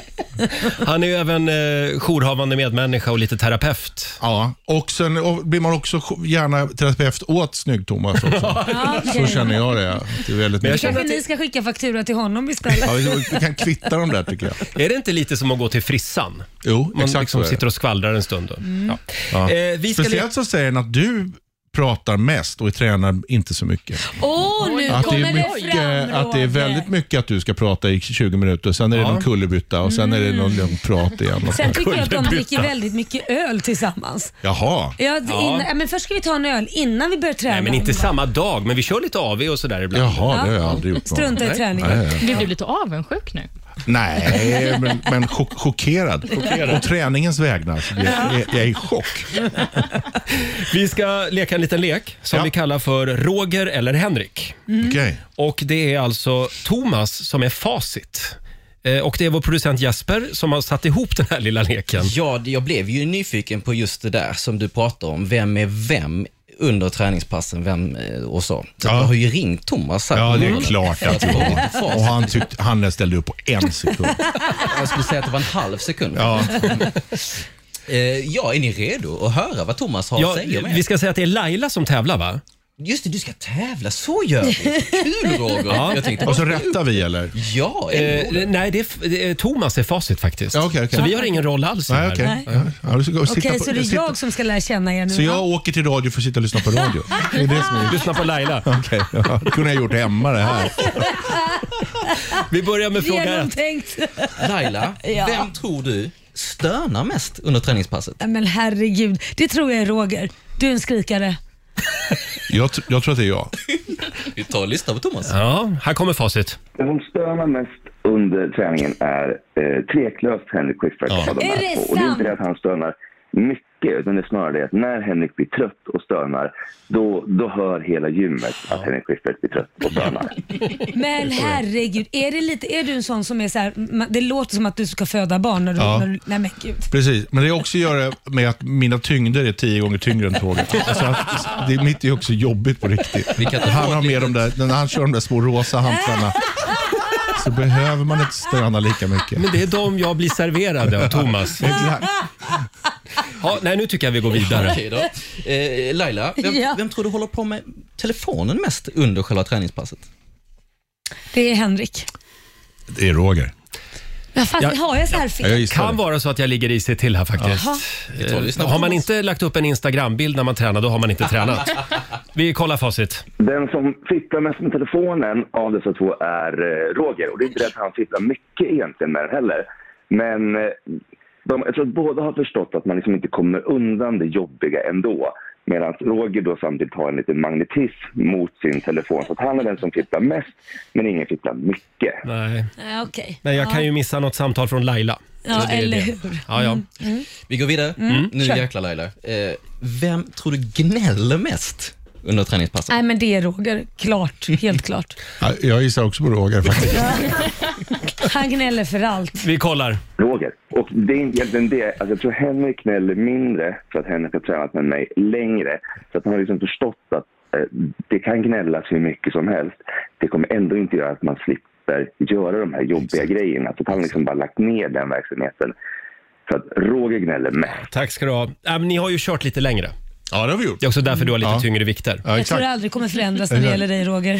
Speaker 1: Han är ju även eh, jourhavande medmänniska och lite terapeut.
Speaker 5: ja. Och sen och blir man också gärna terapeut åt Snygg-Thomas också.
Speaker 3: Ja, okej.
Speaker 5: Så känner jag det. det är väldigt
Speaker 1: Men jag
Speaker 5: mycket.
Speaker 1: känner
Speaker 3: Kanske
Speaker 1: att det-
Speaker 3: ni ska skicka faktura till honom istället?
Speaker 5: Ja, vi, vi kan kvitta dem där tycker jag.
Speaker 1: Är det inte lite som att gå till frissan?
Speaker 5: Jo,
Speaker 1: Man
Speaker 5: exakt så
Speaker 1: liksom
Speaker 5: är det.
Speaker 9: Mm.
Speaker 1: sitter och skvallrar en stund. då. Ja.
Speaker 5: Ja.
Speaker 1: Eh, vi ska le-
Speaker 5: Speciellt så säger den att du pratar mest och är tränad inte så mycket.
Speaker 3: Åh, nu
Speaker 5: Att det,
Speaker 3: kommer
Speaker 5: är
Speaker 3: det,
Speaker 5: mycket,
Speaker 3: fram
Speaker 5: att det
Speaker 3: Roger.
Speaker 5: är väldigt mycket att du ska prata i 20 minuter, sen är det någon kullerbytta och sen är det någon lugn prat igen. Och
Speaker 3: Mm. Sen
Speaker 5: sånt.
Speaker 3: tycker jag att de dricker
Speaker 1: Kullerbytta.
Speaker 3: väldigt mycket öl tillsammans.
Speaker 5: Jaha.
Speaker 3: Ja, det-
Speaker 1: Ja.
Speaker 3: Innan, ja, men först ska vi ta en öl innan vi börjar träna.
Speaker 1: Nej, men inte samma dag, men vi kör lite AV och sådär ibland.
Speaker 5: Jaha, det har jag aldrig gjort.
Speaker 3: Strunta i
Speaker 5: Nej.
Speaker 3: träningen.
Speaker 5: Nej.
Speaker 4: Blev du lite avundsjuk nu?
Speaker 5: Nej, men, men chock, chockerad. På träningens vägnar. så blir Jag, jag, jag är i chock.
Speaker 1: Vi ska leka en liten lek som
Speaker 5: Ja. Mm.
Speaker 1: vi kallar för Roger eller Henrik.
Speaker 5: Okej.
Speaker 1: Och det är alltså Thomas som är facit. Eh, Och det är vår producent Jesper som har satt ihop den här lilla leken.
Speaker 9: Ja, det- jag blev ju nyfiken på just det där som du pratar om. Vem är vem under träningspassen vem eh, och så. så
Speaker 5: Ja.
Speaker 9: Jag har ju ringt Thomas här.
Speaker 5: Ja,
Speaker 9: på
Speaker 5: det är
Speaker 9: morgonen
Speaker 5: klart
Speaker 9: för att
Speaker 5: att det
Speaker 9: få
Speaker 5: var.
Speaker 9: lite facit.
Speaker 5: Och han, tyckte, han ställde upp på en sekund.
Speaker 9: Jag skulle säga att det var en halv sekund. Ja.
Speaker 5: Ja.
Speaker 9: ja, är ni redo att höra vad Thomas har
Speaker 1: Ja,
Speaker 9: att säga? Med?
Speaker 1: vi ska säga att det är Laila som tävlar va?
Speaker 9: Just det, du ska tävla. Så gör vi. Kul Roger. Jag tänkte,
Speaker 5: Och så rättar vi eller?
Speaker 9: ja, är ni
Speaker 1: Eh,
Speaker 9: roliga?
Speaker 1: nej, det är, f- det är Thomas är facit faktiskt.
Speaker 5: Ja, okej, okej.
Speaker 1: Så vi har ingen roll alls i det
Speaker 5: Nej,
Speaker 1: här.
Speaker 5: okej. Ja, ja, du ska gå och sitta
Speaker 3: Okej,
Speaker 5: på-
Speaker 3: så det är
Speaker 5: sitta-
Speaker 3: jag som ska lära känna er nu.
Speaker 5: Så jag åker till radio för att sitta och lyssna på radio? Det är det som är...
Speaker 1: Lyssna på Laila.
Speaker 5: Okej, ja, det kunde jag gjort hemma det här.
Speaker 1: Vi börjar med fråga ett.
Speaker 3: Genomtänkt.
Speaker 9: Laila,
Speaker 3: Ja.
Speaker 9: vem tror du stönar mest under träningspasset?
Speaker 3: Nej, Men herregud, det tror jag är Roger. Du är en skrikare.
Speaker 5: Jag, tr- jag tror att det är jag.
Speaker 9: Vi tar och lyssnar på Thomas.
Speaker 1: Ja, här kommer facit.
Speaker 10: Det som stör mig mest under träningen är eh, tveklöst Henrik Schyffert av de
Speaker 3: Är
Speaker 10: här
Speaker 3: det
Speaker 10: två. Och det är
Speaker 3: sant?
Speaker 10: inte det att han stönar mycket, utan det är snarare det att när Henrik blir trött och stönar, då, då hör hela gymmet att Henrik Schyffert blir trött och stönar.
Speaker 3: Men herregud, är, det lite, är du en sån som är så här, ma- det låter som att du ska föda barn när du...
Speaker 5: Ja.
Speaker 3: När du nej men gud.
Speaker 5: Precis, men det har också att göra med att mina tyngder är tio gånger tyngre än tåget. Alltså, att- det, mitt är också jobbigt på riktigt.
Speaker 9: Vi kan ta
Speaker 5: Han
Speaker 9: bort
Speaker 5: har med de där, när han kör de där små rosa hantlarna så behöver man inte stöna lika mycket.
Speaker 1: Men det är de jag blir serverade av Thomas.
Speaker 5: Exakt.
Speaker 1: Ja, nej, nu tycker jag vi går vidare.
Speaker 9: Okej då. Eh, Laila, vem,
Speaker 3: Ja.
Speaker 9: vem tror du håller på med telefonen mest under själva träningspasset?
Speaker 3: Det är Henrik.
Speaker 5: Det är Roger.
Speaker 3: Ja, fast
Speaker 1: Jag-
Speaker 3: har jag så här
Speaker 5: Ja, jag
Speaker 3: fel?
Speaker 5: gissar
Speaker 1: Kan
Speaker 5: det.
Speaker 1: vara så att jag ligger i sig till här faktiskt.
Speaker 9: tar och lyssnar
Speaker 1: Eh,
Speaker 9: på
Speaker 1: Har man
Speaker 9: Thomas.
Speaker 1: inte lagt upp en Instagram-bild när man tränar, då har man inte tränat. Vi kollar facit.
Speaker 10: Den som fipplar mest med telefonen av dessa två är eh, Roger. Och det är inte det att han fipplar mycket egentligen med den heller. Men eh, de, jag tror att båda har förstått att man liksom inte kommer undan det jobbiga ändå. Medan Roger då samtidigt har en liten magnetism mot sin telefon. Så att han är den som fipplar mest, men ingen fipplar mycket.
Speaker 1: Nej,
Speaker 3: Ja, Okej.
Speaker 1: nej jag kan ju missa något samtal från Laila.
Speaker 3: Ja,
Speaker 1: Så det är
Speaker 3: eller
Speaker 1: det.
Speaker 3: hur? Mm.
Speaker 1: Ja, ja. Mm.
Speaker 9: Vi går vidare. Nu
Speaker 3: kör.
Speaker 9: jäklar Laila. Eh, vem tror du gnäller mest under träningspasset?
Speaker 3: Nej men det är Roger, klart. Helt klart.
Speaker 5: Ja, Jag gissar också på Roger faktiskt.
Speaker 3: Han gnäller för allt.
Speaker 1: Vi kollar.
Speaker 10: Roger. Och det är inte egentligen det. Alltså, jag tror Henrik gnäller mindre för att Henrik har tränat med mig längre. Så att han har liksom förstått att eh, det kan gnällas hur mycket som helst. Det kommer ändå inte göra att man slipper göra de här jobbiga grejerna. Så att han har liksom bara lagt ner den verksamheten. Så att Roger gnäller mest.
Speaker 1: Tack ska du ha. Ja, men ni har ju kört lite längre.
Speaker 5: Ja, det har vi gjort.
Speaker 1: Det är också därför du har lite
Speaker 5: Ja.
Speaker 1: tyngre vikter.
Speaker 3: Jag
Speaker 5: Ja,
Speaker 3: tror
Speaker 5: exakt.
Speaker 3: det aldrig kommer förändras när det gäller dig Roger.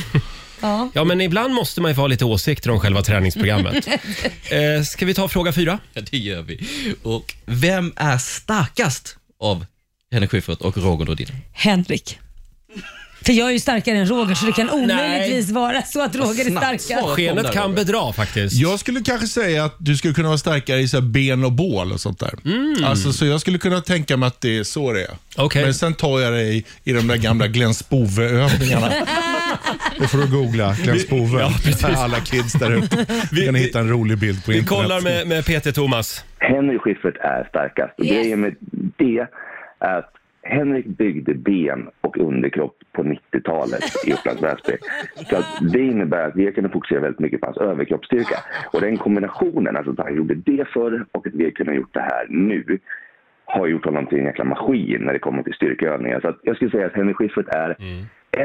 Speaker 3: Ja.
Speaker 1: Ja, men ibland måste man ju få ha lite åsikter om själva träningsprogrammet. eh, ska vi ta fråga fyra?
Speaker 9: Ja, det gör vi. Och vem är starkast av Henrik Schyffert och Roger Nordin?
Speaker 3: Henrik. För jag är ju starkare än Roger så det kan omöjligtvis
Speaker 1: Nej.
Speaker 3: vara så att Roger är
Speaker 9: Snabbt
Speaker 3: starkare.
Speaker 9: svar.
Speaker 1: Skenet kan bedra faktiskt.
Speaker 5: Jag skulle kanske säga att du skulle kunna vara starkare i så här ben och bål och sånt där. Alltså, så jag skulle kunna tänka mig att det är så det är.
Speaker 1: Okej.
Speaker 5: Men sen tar jag dig i de där gamla Glenn Spove-övningarna. Då får du googla Glenn Spove. Alla kids där ute
Speaker 1: Vi-
Speaker 5: kan
Speaker 1: vi-
Speaker 5: hitta en rolig bild på
Speaker 1: Vi
Speaker 5: internet.
Speaker 1: kollar med, med PT Thomas.
Speaker 10: Henrik Schyffert är starkast. Och
Speaker 3: Yes.
Speaker 10: grejen med det är att Henrik byggde ben och underkropp på 90-talet i Upplands Väsby. Så att det innebär att vi kunde fokusera väldigt mycket på hans överkroppsstyrka. Och den kombinationen, alltså att han gjorde det förr och att vi har kunnat gjort det här nu, har gjort honom till en jäkla maskin när det kommer till styrkeövningar. Så att jag skulle säga att Henrik Schyffert är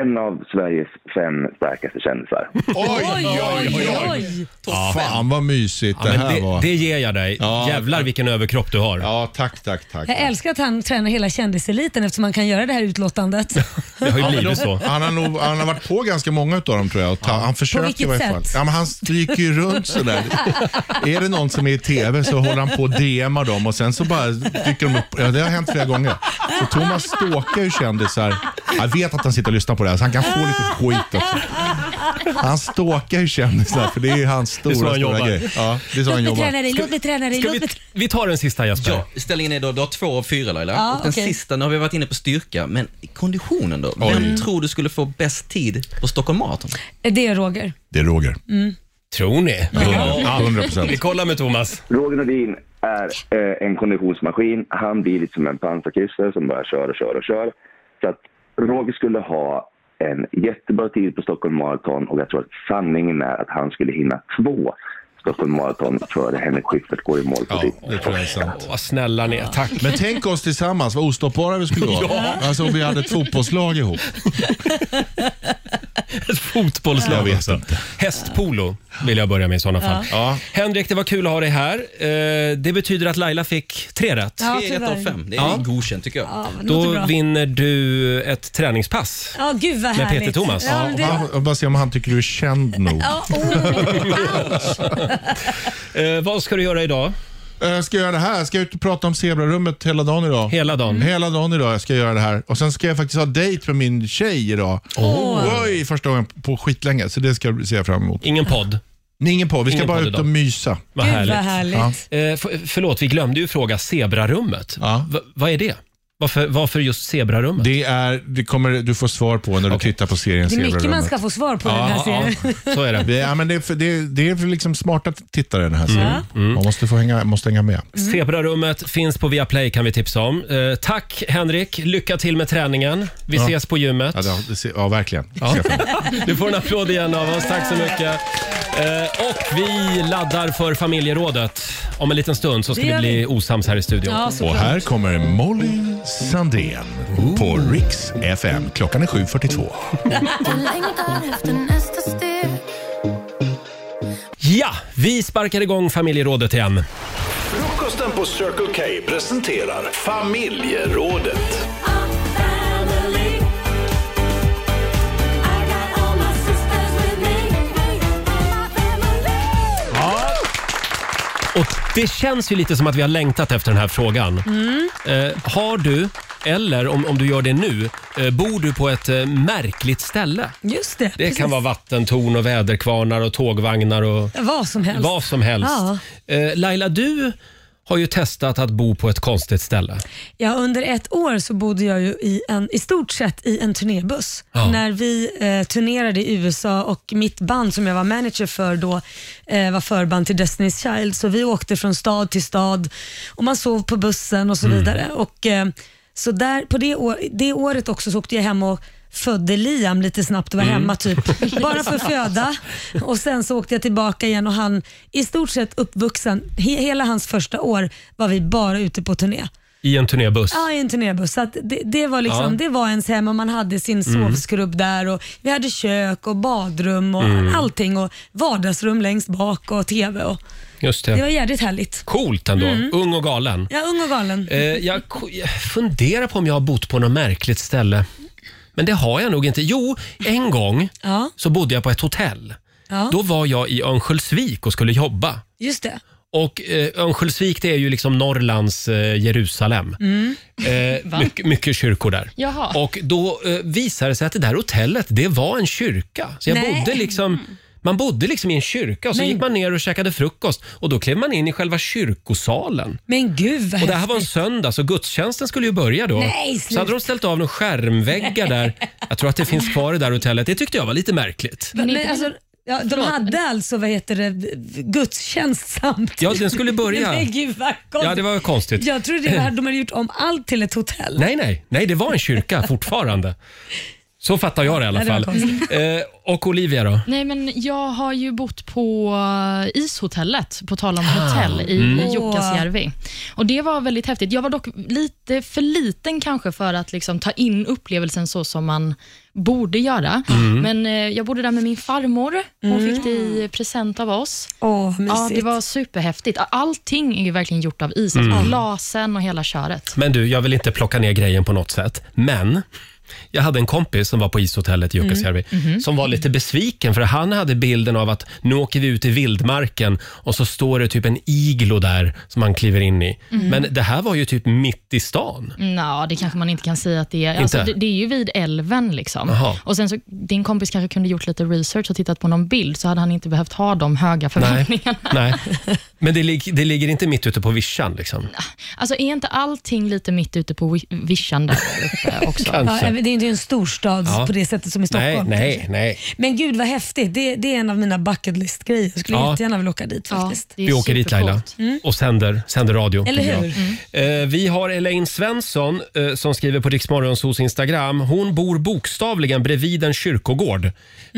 Speaker 10: en av Sveriges fem starkaste kändisar.
Speaker 5: Oj, oj, oj, oj. Fan vad mysigt
Speaker 1: Ja,
Speaker 5: det
Speaker 1: men
Speaker 5: här
Speaker 1: det-
Speaker 5: var.
Speaker 1: det ger jag dig. Jävlar vilken överkropp du har.
Speaker 5: Ja, tack, tack, tack.
Speaker 3: Jag älskar att han tränar hela kändiseliten eftersom han kan göra det här utlåtandet.
Speaker 1: Det har ju blivit så.
Speaker 5: Han har, nog, han har varit på ganska många av dem tror jag. Och ta, Han försöker i
Speaker 3: vilket
Speaker 5: varje fall.
Speaker 3: sätt?
Speaker 5: Ja, men han stryker ju runt sådär. är det någon som är i TV så håller han på och DMar dem och sen så bara dyker de upp. Ja, det har hänt flera gånger. Så Thomas stalkar ju kändisar. Jag vet att han sitter och lyssnar på det här så han kan få lite skit också. Han stalkar ju kändisar för det är ju hans
Speaker 1: är så
Speaker 5: stora,
Speaker 1: han
Speaker 5: stora
Speaker 1: jobbar.
Speaker 5: grej. Ja, det är så han
Speaker 3: Låt mig
Speaker 5: jobbar.
Speaker 3: träna dig, låt mig träna dig,
Speaker 1: Ska
Speaker 3: låt
Speaker 1: vi,
Speaker 3: mig
Speaker 1: vi tar den sista Jesper.
Speaker 9: Ja, ställningen är då, du har två av fyra Laila.
Speaker 3: Ja,
Speaker 9: och den
Speaker 3: okej.
Speaker 9: sista, nu har vi varit inne på styrka, men konditionen då?
Speaker 5: Oj.
Speaker 9: Vem tror du skulle få bäst tid på Stockholm Marathon?
Speaker 3: träna. Eh, Det är Roger. Mm.
Speaker 5: Det är Roger.
Speaker 1: Tror ni?
Speaker 5: 100 procent.
Speaker 1: Vi kollar med Thomas.
Speaker 10: Roger Nordin är eh, en konditionsmaskin. Han blir lite som en pansarkryssare som bara kör och kör och kör. Så att Roger skulle ha en jättebra tid på Stockholm Marathon och jag tror att sanningen är att han skulle hinna två Stockholm Marathon före Henrik Schyffert går i mål på
Speaker 5: Ja,
Speaker 10: sitt.
Speaker 5: det tror jag är sant.
Speaker 1: Vad snälla ni är. Tack.
Speaker 5: Men tänk oss tillsammans, vad ostoppbara vi skulle vara. Alltså om vi hade ett fotbollslag ihop.
Speaker 1: Ett fotbollslag
Speaker 5: Jag vet
Speaker 1: också.
Speaker 5: inte.
Speaker 1: alltså. Hästpolo vill jag börja med i sådana fall.
Speaker 5: Ja.
Speaker 1: Henrik, det var kul att ha dig här. Eh, Det betyder att Laila fick tre rätt.
Speaker 3: Ja,
Speaker 9: Tre rätt av
Speaker 3: tyvärr.
Speaker 9: fem. Det är
Speaker 1: Ja.
Speaker 9: godkänt tycker jag.
Speaker 3: Ja, men låter
Speaker 1: Då
Speaker 3: bra.
Speaker 1: vinner du ett träningspass.
Speaker 3: Ja, gud vad
Speaker 1: Med
Speaker 3: härligt.
Speaker 1: Peter Thomas.
Speaker 3: Ja, men det...
Speaker 5: Ja, och bara se om han tycker du är känd nog.
Speaker 3: ja, oh, ouch.
Speaker 1: Eh, vad ska du göra idag?
Speaker 5: Eh, Ska jag göra det här? Ska jag ut och prata om zebrarummet hela dagen idag? Mm.
Speaker 1: Hela dagen?
Speaker 5: Hela dagen idag ska jag göra det här. Och Sen ska jag faktiskt ha dejt med min tjej idag. Oj, första gången på skitlänge, så det ska jag se fram emot.
Speaker 1: Ingen podd?
Speaker 5: Nej, ingen på. Vi ska
Speaker 1: Ingen
Speaker 5: bara
Speaker 1: podd
Speaker 5: ut
Speaker 1: idag.
Speaker 5: och mysa.
Speaker 1: Vad
Speaker 3: Gud vad
Speaker 1: härligt.
Speaker 3: härligt.
Speaker 5: Ja.
Speaker 1: Eh, f- förlåt, vi glömde ju fråga zebrarummet.
Speaker 5: Ja.
Speaker 1: V- vad är det? Varför, varför just zebrarummet?
Speaker 5: Det är, det kommer du får svar på när du tittar på serien
Speaker 3: Det är mycket man
Speaker 5: Zebrarummet.
Speaker 3: ska få svar på i den här
Speaker 1: Ja,
Speaker 3: serien.
Speaker 1: ja, så är det.
Speaker 5: Det, ja, men det, är för, det, är- det är för liksom smarta tittare den här
Speaker 3: Mm.
Speaker 5: serien.
Speaker 1: Mm.
Speaker 5: Man måste, få hänga, måste hänga med.
Speaker 1: Zebrarummet finns på Viaplay kan vi tipsa om. Eh, tack Henrik, lycka till med träningen. Vi ses på gymmet.
Speaker 5: Ja, det, det, ser- ja verkligen.
Speaker 1: Ja. Du får en applåd igen av oss. Tack så mycket. Eh, och vi laddar för familjerådet. Om en liten stund så ska
Speaker 3: Det
Speaker 1: vi
Speaker 3: gör
Speaker 1: bli osams här i studion.
Speaker 3: Ja,
Speaker 5: Och
Speaker 3: såklart.
Speaker 5: här kommer Molly Sandén på Rix FM. Klockan är 7.42.
Speaker 1: Ja, vi sparkar igång familjerådet igen.
Speaker 11: Frukosten på Circle K presenterar familjerådet.
Speaker 1: Och det känns ju lite som att vi har längtat efter den här frågan.
Speaker 3: Mm.
Speaker 1: Eh, har du, eller om, om du gör det nu, eh, bor du på ett eh, märkligt ställe?
Speaker 3: Just det.
Speaker 1: Det kan vara vattentorn och väderkvarnar och tågvagnar och
Speaker 3: Vad som helst.
Speaker 1: vad som helst.
Speaker 3: Ja.
Speaker 1: Eh, Laila, du har ju testat att bo på ett konstigt ställe.
Speaker 3: Ja, under ett år så bodde jag ju i, en, i stort sett i en turnébuss.
Speaker 1: Ja.
Speaker 3: När vi eh, turnerade i USA och mitt band som jag var manager för då eh, var förband till Destiny's Child. Så vi åkte från stad till stad och man sov på bussen och så vidare. Och, eh, så där, på det, å, det året också så åkte jag hem och födde Liam lite snabbt och var hemma typ. Bara för föda. Och sen så åkte jag tillbaka igen och han, i stort sett uppvuxen, he, hela hans första år var vi bara ute på turné.
Speaker 1: I en turnébuss.
Speaker 3: Ja, i en turnébuss. Så att det, det, var liksom,
Speaker 1: Ja. Mm.
Speaker 3: det var ens hem och man hade sin sovskrubb där. Och vi hade kök och badrum och
Speaker 1: Mm.
Speaker 3: allting och vardagsrum längst bak och TV. Och
Speaker 1: Just
Speaker 3: det var
Speaker 1: det.
Speaker 3: jävligt härligt. Mm.
Speaker 1: Coolt ändå. Ung och galen.
Speaker 3: Jag är ung och galen.
Speaker 1: Eh, jag, ko- jag funderar på om jag har bott på något märkligt ställe. Men det har jag nog inte. Jo, en gång
Speaker 3: Ja,
Speaker 1: så bodde jag på ett hotell.
Speaker 3: ja.
Speaker 1: Då var jag i Örnsköldsvik och skulle jobba.
Speaker 3: just det.
Speaker 1: Och eh, Örnsköldsvik det är ju liksom Norrlands eh, Jerusalem.
Speaker 3: Mm.
Speaker 1: Eh, mycket, mycket kyrkor där.
Speaker 4: Jaha.
Speaker 1: Och då eh, visade det sig att det där hotellet, det var en kyrka. Så jag
Speaker 3: Nej.
Speaker 1: bodde liksom man bodde liksom i en kyrka och så
Speaker 3: Men-
Speaker 1: gick man ner och käkade frukost och då klev man in i själva kyrkosalen.
Speaker 3: Men gud vad
Speaker 1: Och det här var en
Speaker 3: häftigt.
Speaker 1: söndag så gudstjänsten skulle ju börja då.
Speaker 3: Nej,
Speaker 1: så hade de ställt av några skärmväggar där. Jag tror att det finns kvar i det där hotellet. Det tyckte jag var lite märkligt.
Speaker 3: Men alltså, ja, de hade alltså, vad heter det, gudstjänst samtidigt.
Speaker 1: Ja, den skulle börja.
Speaker 3: Men gud vad konstigt.
Speaker 1: Ja, det var konstigt.
Speaker 3: Jag trodde det var, de hade gjort om allt till ett hotell.
Speaker 1: Nej, nej, nej, det var en kyrka fortfarande. Så fattar jag det i
Speaker 3: Ja,
Speaker 1: alla
Speaker 3: det var
Speaker 1: fall. Eh, och Olivia då?
Speaker 4: Nej, men jag har ju bott på eh, ishotellet, på tal om hotell, i Jukkasjärvi. Och Det var väldigt häftigt. Jag var dock lite för liten kanske för att liksom ta in upplevelsen så som man borde göra.
Speaker 2: Mm.
Speaker 4: Men eh, jag bodde där med min farmor. Hon
Speaker 2: Mm.
Speaker 4: fick det i present av oss.
Speaker 3: Åh,
Speaker 4: ja,
Speaker 1: mysigt.
Speaker 4: det var superhäftigt. Allting är ju verkligen gjort av is.
Speaker 1: Mm.
Speaker 4: Alltså, glasen och hela köret.
Speaker 1: Men du, jag vill inte plocka ner grejen på något sätt. Men jag hade en kompis som var på ishotellet i Jukkasjärvi
Speaker 4: Mm.
Speaker 3: Mm-hmm.
Speaker 4: Mhm.
Speaker 1: som var lite besviken för han hade bilden av att nu åker vi ut i vildmarken och så står det typ en iglo där som man kliver in i.
Speaker 3: Mm-hmm.
Speaker 4: Mm.
Speaker 1: Men det här var ju typ mitt i stan.
Speaker 4: Nå, det kanske man inte kan säga att det är. Alltså,
Speaker 1: Inte?
Speaker 4: det, det är ju vid älven. liksom.
Speaker 1: Jaha.
Speaker 4: Och sen så, Din kompis kanske kunde gjort lite research och tittat på någon bild, så hade han inte behövt ha de höga
Speaker 1: Nej.
Speaker 4: förväntningarna.
Speaker 1: Nej. Men det, lig- det ligger inte mitt ute på vischan liksom.
Speaker 3: Ah,
Speaker 4: Alltså, är inte allting lite mitt ute på vi- vischan där uppe också?
Speaker 1: Kanske.
Speaker 3: Ja, men det är ju inte en storstad
Speaker 1: Ja.
Speaker 3: på det sättet som i Stockholm.
Speaker 1: Nej, nej,
Speaker 3: kanske.
Speaker 1: nej.
Speaker 3: Men gud vad häftigt. Det, det är en av mina bucket list-grejer. Jag skulle
Speaker 1: Ja.
Speaker 3: jättegärna vilja åka dit faktiskt.
Speaker 1: Vi åker dit Laila
Speaker 3: Mm.
Speaker 1: och sänder, sänder radio.
Speaker 3: Eller
Speaker 1: tycker jag.
Speaker 3: hur? Mm.
Speaker 1: Eh, Vi har Elaine Svensson eh, som skriver på Riksmorgonsos Instagram. Hon bor bokstavligen bredvid en kyrkogård.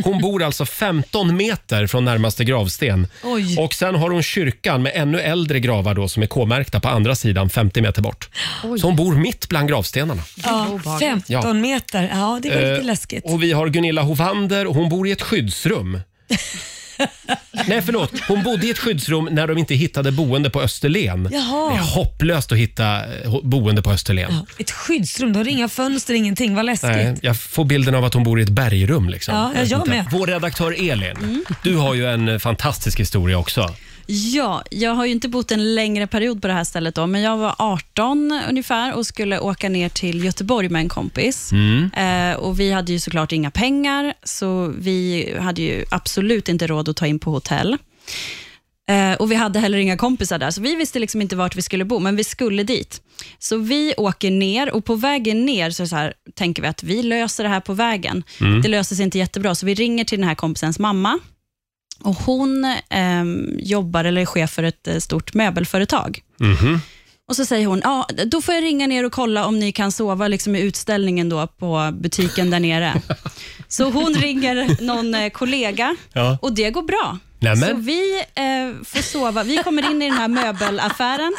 Speaker 1: Hon bor alltså 15 meter från närmaste gravsten.
Speaker 3: Oj.
Speaker 1: Och sen har hon kyrkan med ännu äldre gravar då som är K-märkta på andra sidan 50 meter bort. Så hon bor mitt bland gravstenarna.
Speaker 3: Ja, 15
Speaker 1: Ja.
Speaker 3: meter. Ja, det var lite
Speaker 1: Eh,
Speaker 3: läskigt.
Speaker 1: Och vi har Gunilla Hovander och hon bor i ett skyddsrum. Nej förlåt, hon bodde i ett skyddsrum när de inte hittade boende på Österlen.
Speaker 3: Jaha.
Speaker 1: Det är hopplöst att hitta eh, ho- boende på Österlen.
Speaker 3: Ett skyddsrum, då har du inga fönster, ingenting. Vad läskigt.
Speaker 1: Nej, jag får bilden av att hon bor i ett bergrum. Liksom.
Speaker 3: Ja, jag
Speaker 1: vet
Speaker 3: gör
Speaker 1: inte.
Speaker 3: med.
Speaker 1: Vår redaktör Elin,
Speaker 8: Mm.
Speaker 1: du har ju en eh, fantastisk historia också.
Speaker 8: Ja, jag har ju inte bott en längre period på det här stället då, men jag var 18 ungefär och skulle åka ner till Göteborg med en kompis.
Speaker 2: Mm.
Speaker 8: Eh, och vi hade ju såklart inga pengar, så vi hade ju absolut inte råd att ta in på hotell. Eh, och vi hade heller inga kompisar där, så vi visste liksom inte vart vi skulle bo, men vi skulle dit. Så vi åker ner och på vägen ner så, är det så här, tänker vi att vi löser det här på vägen.
Speaker 2: Mm.
Speaker 8: Det löser sig inte jättebra, så vi ringer till den här kompisens mamma. Och Hon ehm, jobbar eller är chef för ett eh, stort möbelföretag.
Speaker 2: Mhm.
Speaker 8: Och så säger hon, ja, då får jag ringa ner och kolla om ni kan sova liksom i utställningen då på butiken där nere. så hon ringer någon eh, kollega
Speaker 2: Ja.
Speaker 8: och det går bra.
Speaker 2: Nämen.
Speaker 8: Så vi eh, får sova. Vi kommer in i den här möbelaffären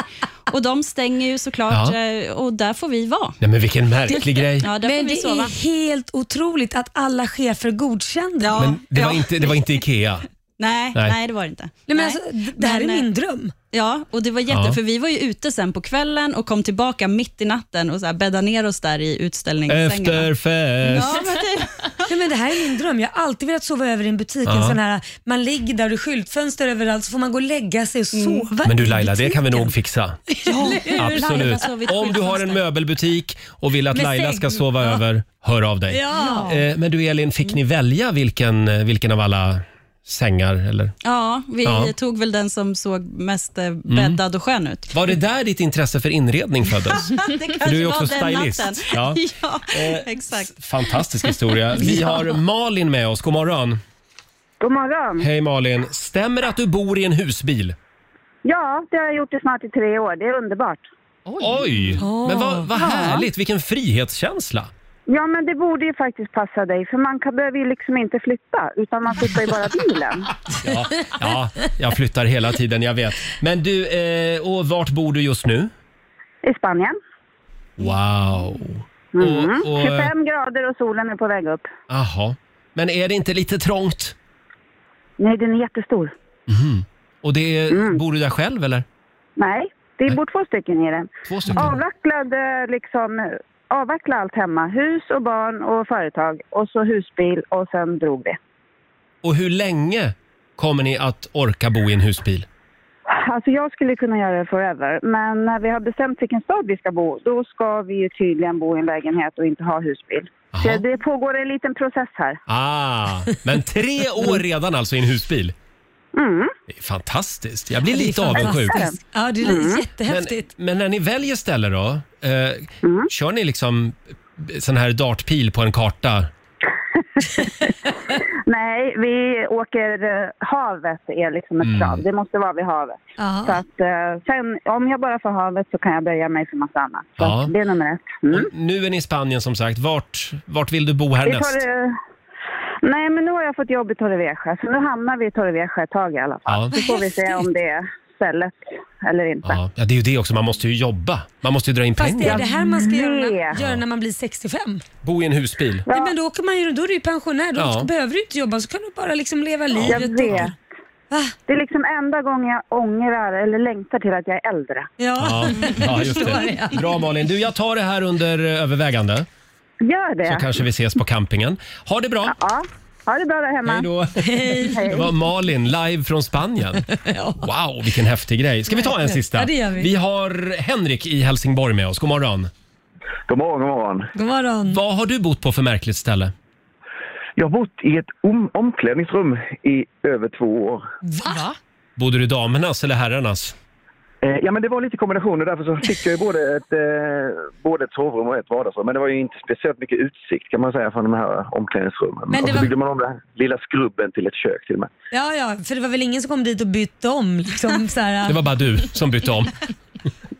Speaker 8: och de stänger ju såklart
Speaker 1: Ja.
Speaker 8: eh, och där får vi vara.
Speaker 1: Nej, men vilken märklig grej.
Speaker 8: Ja, där får
Speaker 3: Men
Speaker 8: vi
Speaker 3: det
Speaker 8: sova.
Speaker 3: är helt otroligt att alla chefer godkände.
Speaker 1: Men det var, inte, det var inte Ikea.
Speaker 8: Nej,
Speaker 1: Nej.
Speaker 8: nej. det var det inte.
Speaker 3: Nej, men alltså, d- det här är min dröm.
Speaker 8: Ja, och det var jätte,
Speaker 1: Ja.
Speaker 8: för vi var ju ute sen på kvällen och kom tillbaka mitt i natten och så här bäddade ner oss där i utställningssängarna.
Speaker 1: Efterfest.
Speaker 8: Ja, men det,
Speaker 3: Nej, men det här är min dröm. Jag har alltid velat sova över i en butik. En
Speaker 1: Ja.
Speaker 3: sån här, man ligger där och det är skyltfönster överallt så får man gå och lägga sig och sova.
Speaker 1: Men du Laila, det kan vi nog fixa.
Speaker 3: Ja,
Speaker 1: Absolut. Om du har en möbelbutik och vill att
Speaker 3: Med
Speaker 1: Laila
Speaker 3: säng.
Speaker 1: ska sova över, hör av dig.
Speaker 8: Ja.
Speaker 1: Eh, Men du Elin, fick ni välja vilken, eh, vilken av alla sängar? Eller? Mm.
Speaker 8: ja, vi
Speaker 1: Ja. Mm.
Speaker 8: tog väl den som såg mest eh, bäddad och skön ut.
Speaker 1: Var det där ditt intresse för inredning föddes?
Speaker 8: det
Speaker 1: För du är
Speaker 8: kanske
Speaker 1: ju
Speaker 8: var
Speaker 1: också
Speaker 8: den
Speaker 1: stylist.
Speaker 8: natten.
Speaker 1: Ja.
Speaker 8: Ja,
Speaker 1: Eh,
Speaker 8: exakt.
Speaker 1: Fantastisk historia. Vi
Speaker 2: Ja.
Speaker 1: har Malin med oss. God morgon.
Speaker 12: God morgon.
Speaker 1: Hej Malin. Stämmer det att du bor i en husbil?
Speaker 12: Ja, det har jag gjort i snart i tre år. Det är underbart.
Speaker 1: Oj! Men vad, vad
Speaker 12: Ja.
Speaker 1: härligt. Vilken frihetskänsla.
Speaker 12: Ja, men det borde ju faktiskt passa dig, för man kan, behöver ju liksom inte flytta, utan man flyttar ju bara bilen.
Speaker 1: Ja, ja, jag flyttar hela tiden, jag vet. Men du, eh, och vart bor du just nu?
Speaker 12: I Spanien.
Speaker 1: Wow.
Speaker 12: Mm.
Speaker 1: Och, och, eh,
Speaker 12: 25 grader och solen är på väg upp.
Speaker 1: aha. Men är det inte lite trångt?
Speaker 12: Nej, den är jättestor.
Speaker 1: Mhm. Och det är, bor du där själv eller?
Speaker 12: Nej, det bor två stycken i den.
Speaker 1: Två stycken?
Speaker 12: Avvecklad, eh, liksom, eh, avveckla allt hemma. Hus och barn och företag och så husbil och sen drog vi.
Speaker 1: Och hur länge kommer ni att orka bo i en husbil?
Speaker 12: Alltså jag skulle kunna göra det forever, men när vi har bestämt vilken stad vi ska bo, då ska vi ju tydligen bo i en lägenhet och inte ha husbil. Så det pågår en liten process här.
Speaker 1: Ah, men tre år redan alltså i en husbil?
Speaker 12: Mm.
Speaker 1: Det är fantastiskt. Jag blir
Speaker 3: Ja, det är
Speaker 1: lite avundsjuk.
Speaker 3: fantastiskt. Ja, det är
Speaker 1: Mm.
Speaker 3: jättehäftigt.
Speaker 1: Men, men när ni väljer ställe då, eh, kör ni liksom sån här dartpil på en karta?
Speaker 12: Nej, vi åker... eh, Havet är liksom ett
Speaker 1: Mm.
Speaker 12: krav. Det måste vara vid havet. Så att, eh, sen, om jag bara får havet så kan jag böja mig för massa annat. Så
Speaker 1: Ja.
Speaker 12: att det är nummer ett.
Speaker 1: Och nu är ni i Spanien som sagt. Vart, vart vill du bo härnäst?
Speaker 12: Mm. Vi tar, eh, Nej, men nu har jag fått jobb i Torrevieja, så nu hamnar vi i Torrevieja ett tag i alla fall.
Speaker 1: Ja.
Speaker 12: Så får vi se om det stället eller inte.
Speaker 1: Ja, ja, det är ju det också. Man måste ju jobba. Man måste ju dra in
Speaker 3: Fast det är
Speaker 1: pengar.
Speaker 3: det här man ska göra när, göra när man blir 65.
Speaker 1: Bo i en husbil.
Speaker 3: Nej, men då, åker man ju, då är du ju pensionär, då
Speaker 1: Ja.
Speaker 3: behöver du inte jobba, så kan du bara liksom leva
Speaker 12: Jag
Speaker 3: livet. och-
Speaker 12: vet. Det är liksom enda gången jag ångrar eller längtar till att jag är äldre.
Speaker 1: Ja, ja just det. Bra Malin. Du, jag tar det här under eh, övervägande.
Speaker 12: Gör det.
Speaker 1: Så kanske vi ses på campingen. Ha det bra!
Speaker 12: Ja. Ha det bra där hemma.
Speaker 1: Hej då!
Speaker 12: Hej.
Speaker 1: Det var Malin live från Spanien. Wow, vilken häftig grej. Ska vi ta en sista?
Speaker 3: Ja, det gör vi.
Speaker 1: har Henrik i Helsingborg med oss. God morgon.
Speaker 13: God morgon, god morgon.
Speaker 3: God morgon.
Speaker 1: Vad har du bott på för märkligt ställe?
Speaker 13: Jag har bott i ett om- omklädningsrum i över två år.
Speaker 3: Va?
Speaker 1: Bodde du i damernas eller herrarnas?
Speaker 13: Eh, ja, men det var lite kombinationer. Därför så fick jag ju både ett, eh, både ett sovrum och ett vardagsrum. Men det var ju inte speciellt mycket utsikt kan man säga från de här omklädningsrummen.
Speaker 3: Men det
Speaker 13: och så
Speaker 3: var-
Speaker 13: byggde man om den här lilla skrubben till ett kök till och med.
Speaker 3: Ja, ja, för det var väl ingen som kom dit och bytte om? Liksom, så här,
Speaker 1: Det var bara du som bytte om.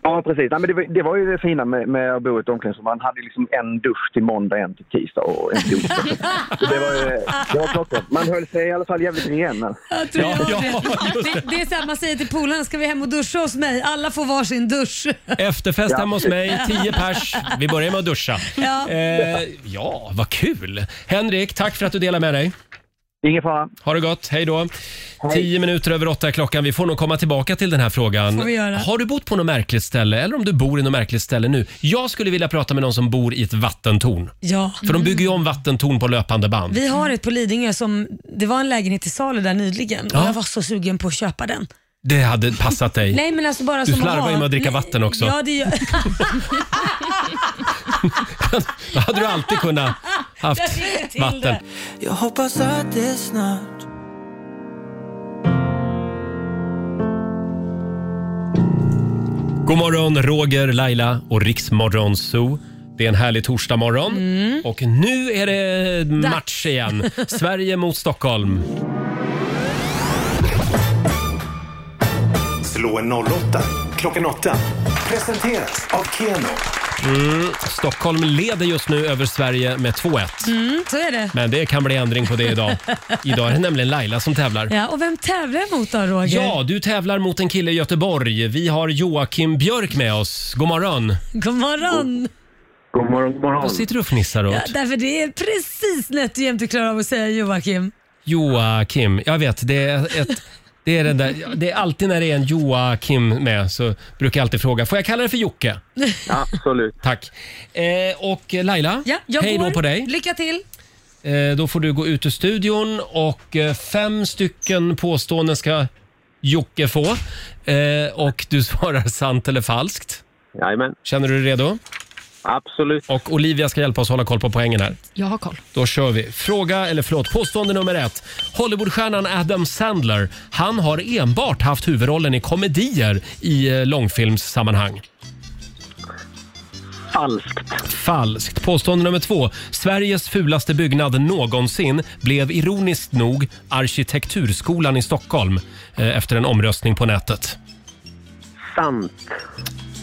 Speaker 13: Ja, precis. Nej, men det, var, det var ju det fina med, med att bo i ett omklädningsrum. Man hade ju liksom en dusch till måndag, en till tisdag och en till onsdag. Så det var, ju- det var klockrent. Man höll sig i alla fall jävligt ren. Men...
Speaker 3: Jag tror jag det. Det, det är så här, man säger till polarna, ska vi hem och duscha hos mig? Alla får varsin dusch.
Speaker 1: Efterfest
Speaker 3: Ja.
Speaker 1: hemma hos mig, 10 pers. Vi börjar med att duscha.
Speaker 3: Ja.
Speaker 1: Eh, ja, vad kul! Henrik, tack för att du delar med dig.
Speaker 13: Ingen fara.
Speaker 1: Ha det gott, hej då. 10 minuter över åtta är klockan. Vi får nog komma tillbaka till den här frågan.
Speaker 3: Får vi göra.
Speaker 1: Har du bott på något märkligt ställe eller om du bor i något märkligt ställe nu? Jag skulle vilja prata med någon som bor i ett vattentorn.
Speaker 3: Ja.
Speaker 1: För de bygger ju om vattentorn på löpande band.
Speaker 3: Vi har ett på Lidingö som, det var en lägenhet i salu där nyligen
Speaker 1: Ja.
Speaker 3: och jag var så sugen på att köpa den.
Speaker 1: Det hade passat dig.
Speaker 3: Nej men alltså bara
Speaker 1: du
Speaker 3: som
Speaker 1: slarvar
Speaker 3: att
Speaker 1: ju
Speaker 3: ha-
Speaker 1: med att dricka vatten också.
Speaker 3: Ja, det gör...
Speaker 1: Då hade du alltid kunnat haft
Speaker 3: Jag fick till
Speaker 1: vatten.
Speaker 3: det.
Speaker 7: Jag hoppas att det snart
Speaker 1: God morgon, Roger, Laila och Riksmorgon Zoo. Det är en härlig torsdagmorgon
Speaker 3: Mm.
Speaker 1: och nu är det match igen. Sverige mot Stockholm.
Speaker 11: Slå en 08 klockan 8. Presenteras av Keno.
Speaker 1: Mm, Stockholm leder just nu över Sverige med 2-1.
Speaker 3: Mm, så är det.
Speaker 1: Men det kan bli ändring på det idag. Idag är det nämligen Laila som tävlar.
Speaker 3: Ja, och vem tävlar jag mot då Roger?
Speaker 1: Ja, du tävlar mot en kille i Göteborg. Vi har Joakim Björk med oss. God morgon!
Speaker 3: God morgon!
Speaker 13: God morgon, god morgon.
Speaker 1: Vad sitter du och fnissar åt?
Speaker 3: Ja, Äh, därför det är precis nätt och jämnt du klarar av att säga Joakim.
Speaker 1: Joakim, jag vet. Det är, ett, det, är den där, det är alltid när det är en Joakim med så brukar jag alltid fråga, får jag kalla dig för Jocke?
Speaker 13: Absolut.
Speaker 1: Tack. Eh, och Laila,
Speaker 3: Ja, jag
Speaker 1: hej
Speaker 3: går.
Speaker 1: då på dig.
Speaker 3: Lycka till!
Speaker 1: Eh, då får du gå ut ur studion och eh, fem stycken påståenden ska Jocke få. Eh, och du svarar sant eller falskt.
Speaker 13: Jajamän.
Speaker 1: Känner du dig redo?
Speaker 13: Absolut.
Speaker 1: Och Olivia ska hjälpa oss hålla koll på poängen här.
Speaker 4: Jag har koll.
Speaker 1: Då kör vi. Fråga, eller förlåt, påstående nummer ett. Hollywoodstjärnan Adam Sandler, han har enbart haft huvudrollen i komedier i eh, långfilmssammanhang.
Speaker 13: Falskt.
Speaker 1: Falskt. Påstående nummer två. Sveriges fulaste byggnad någonsin blev ironiskt nog Arkitekturskolan i Stockholm eh, efter en omröstning på nätet.
Speaker 13: Sant.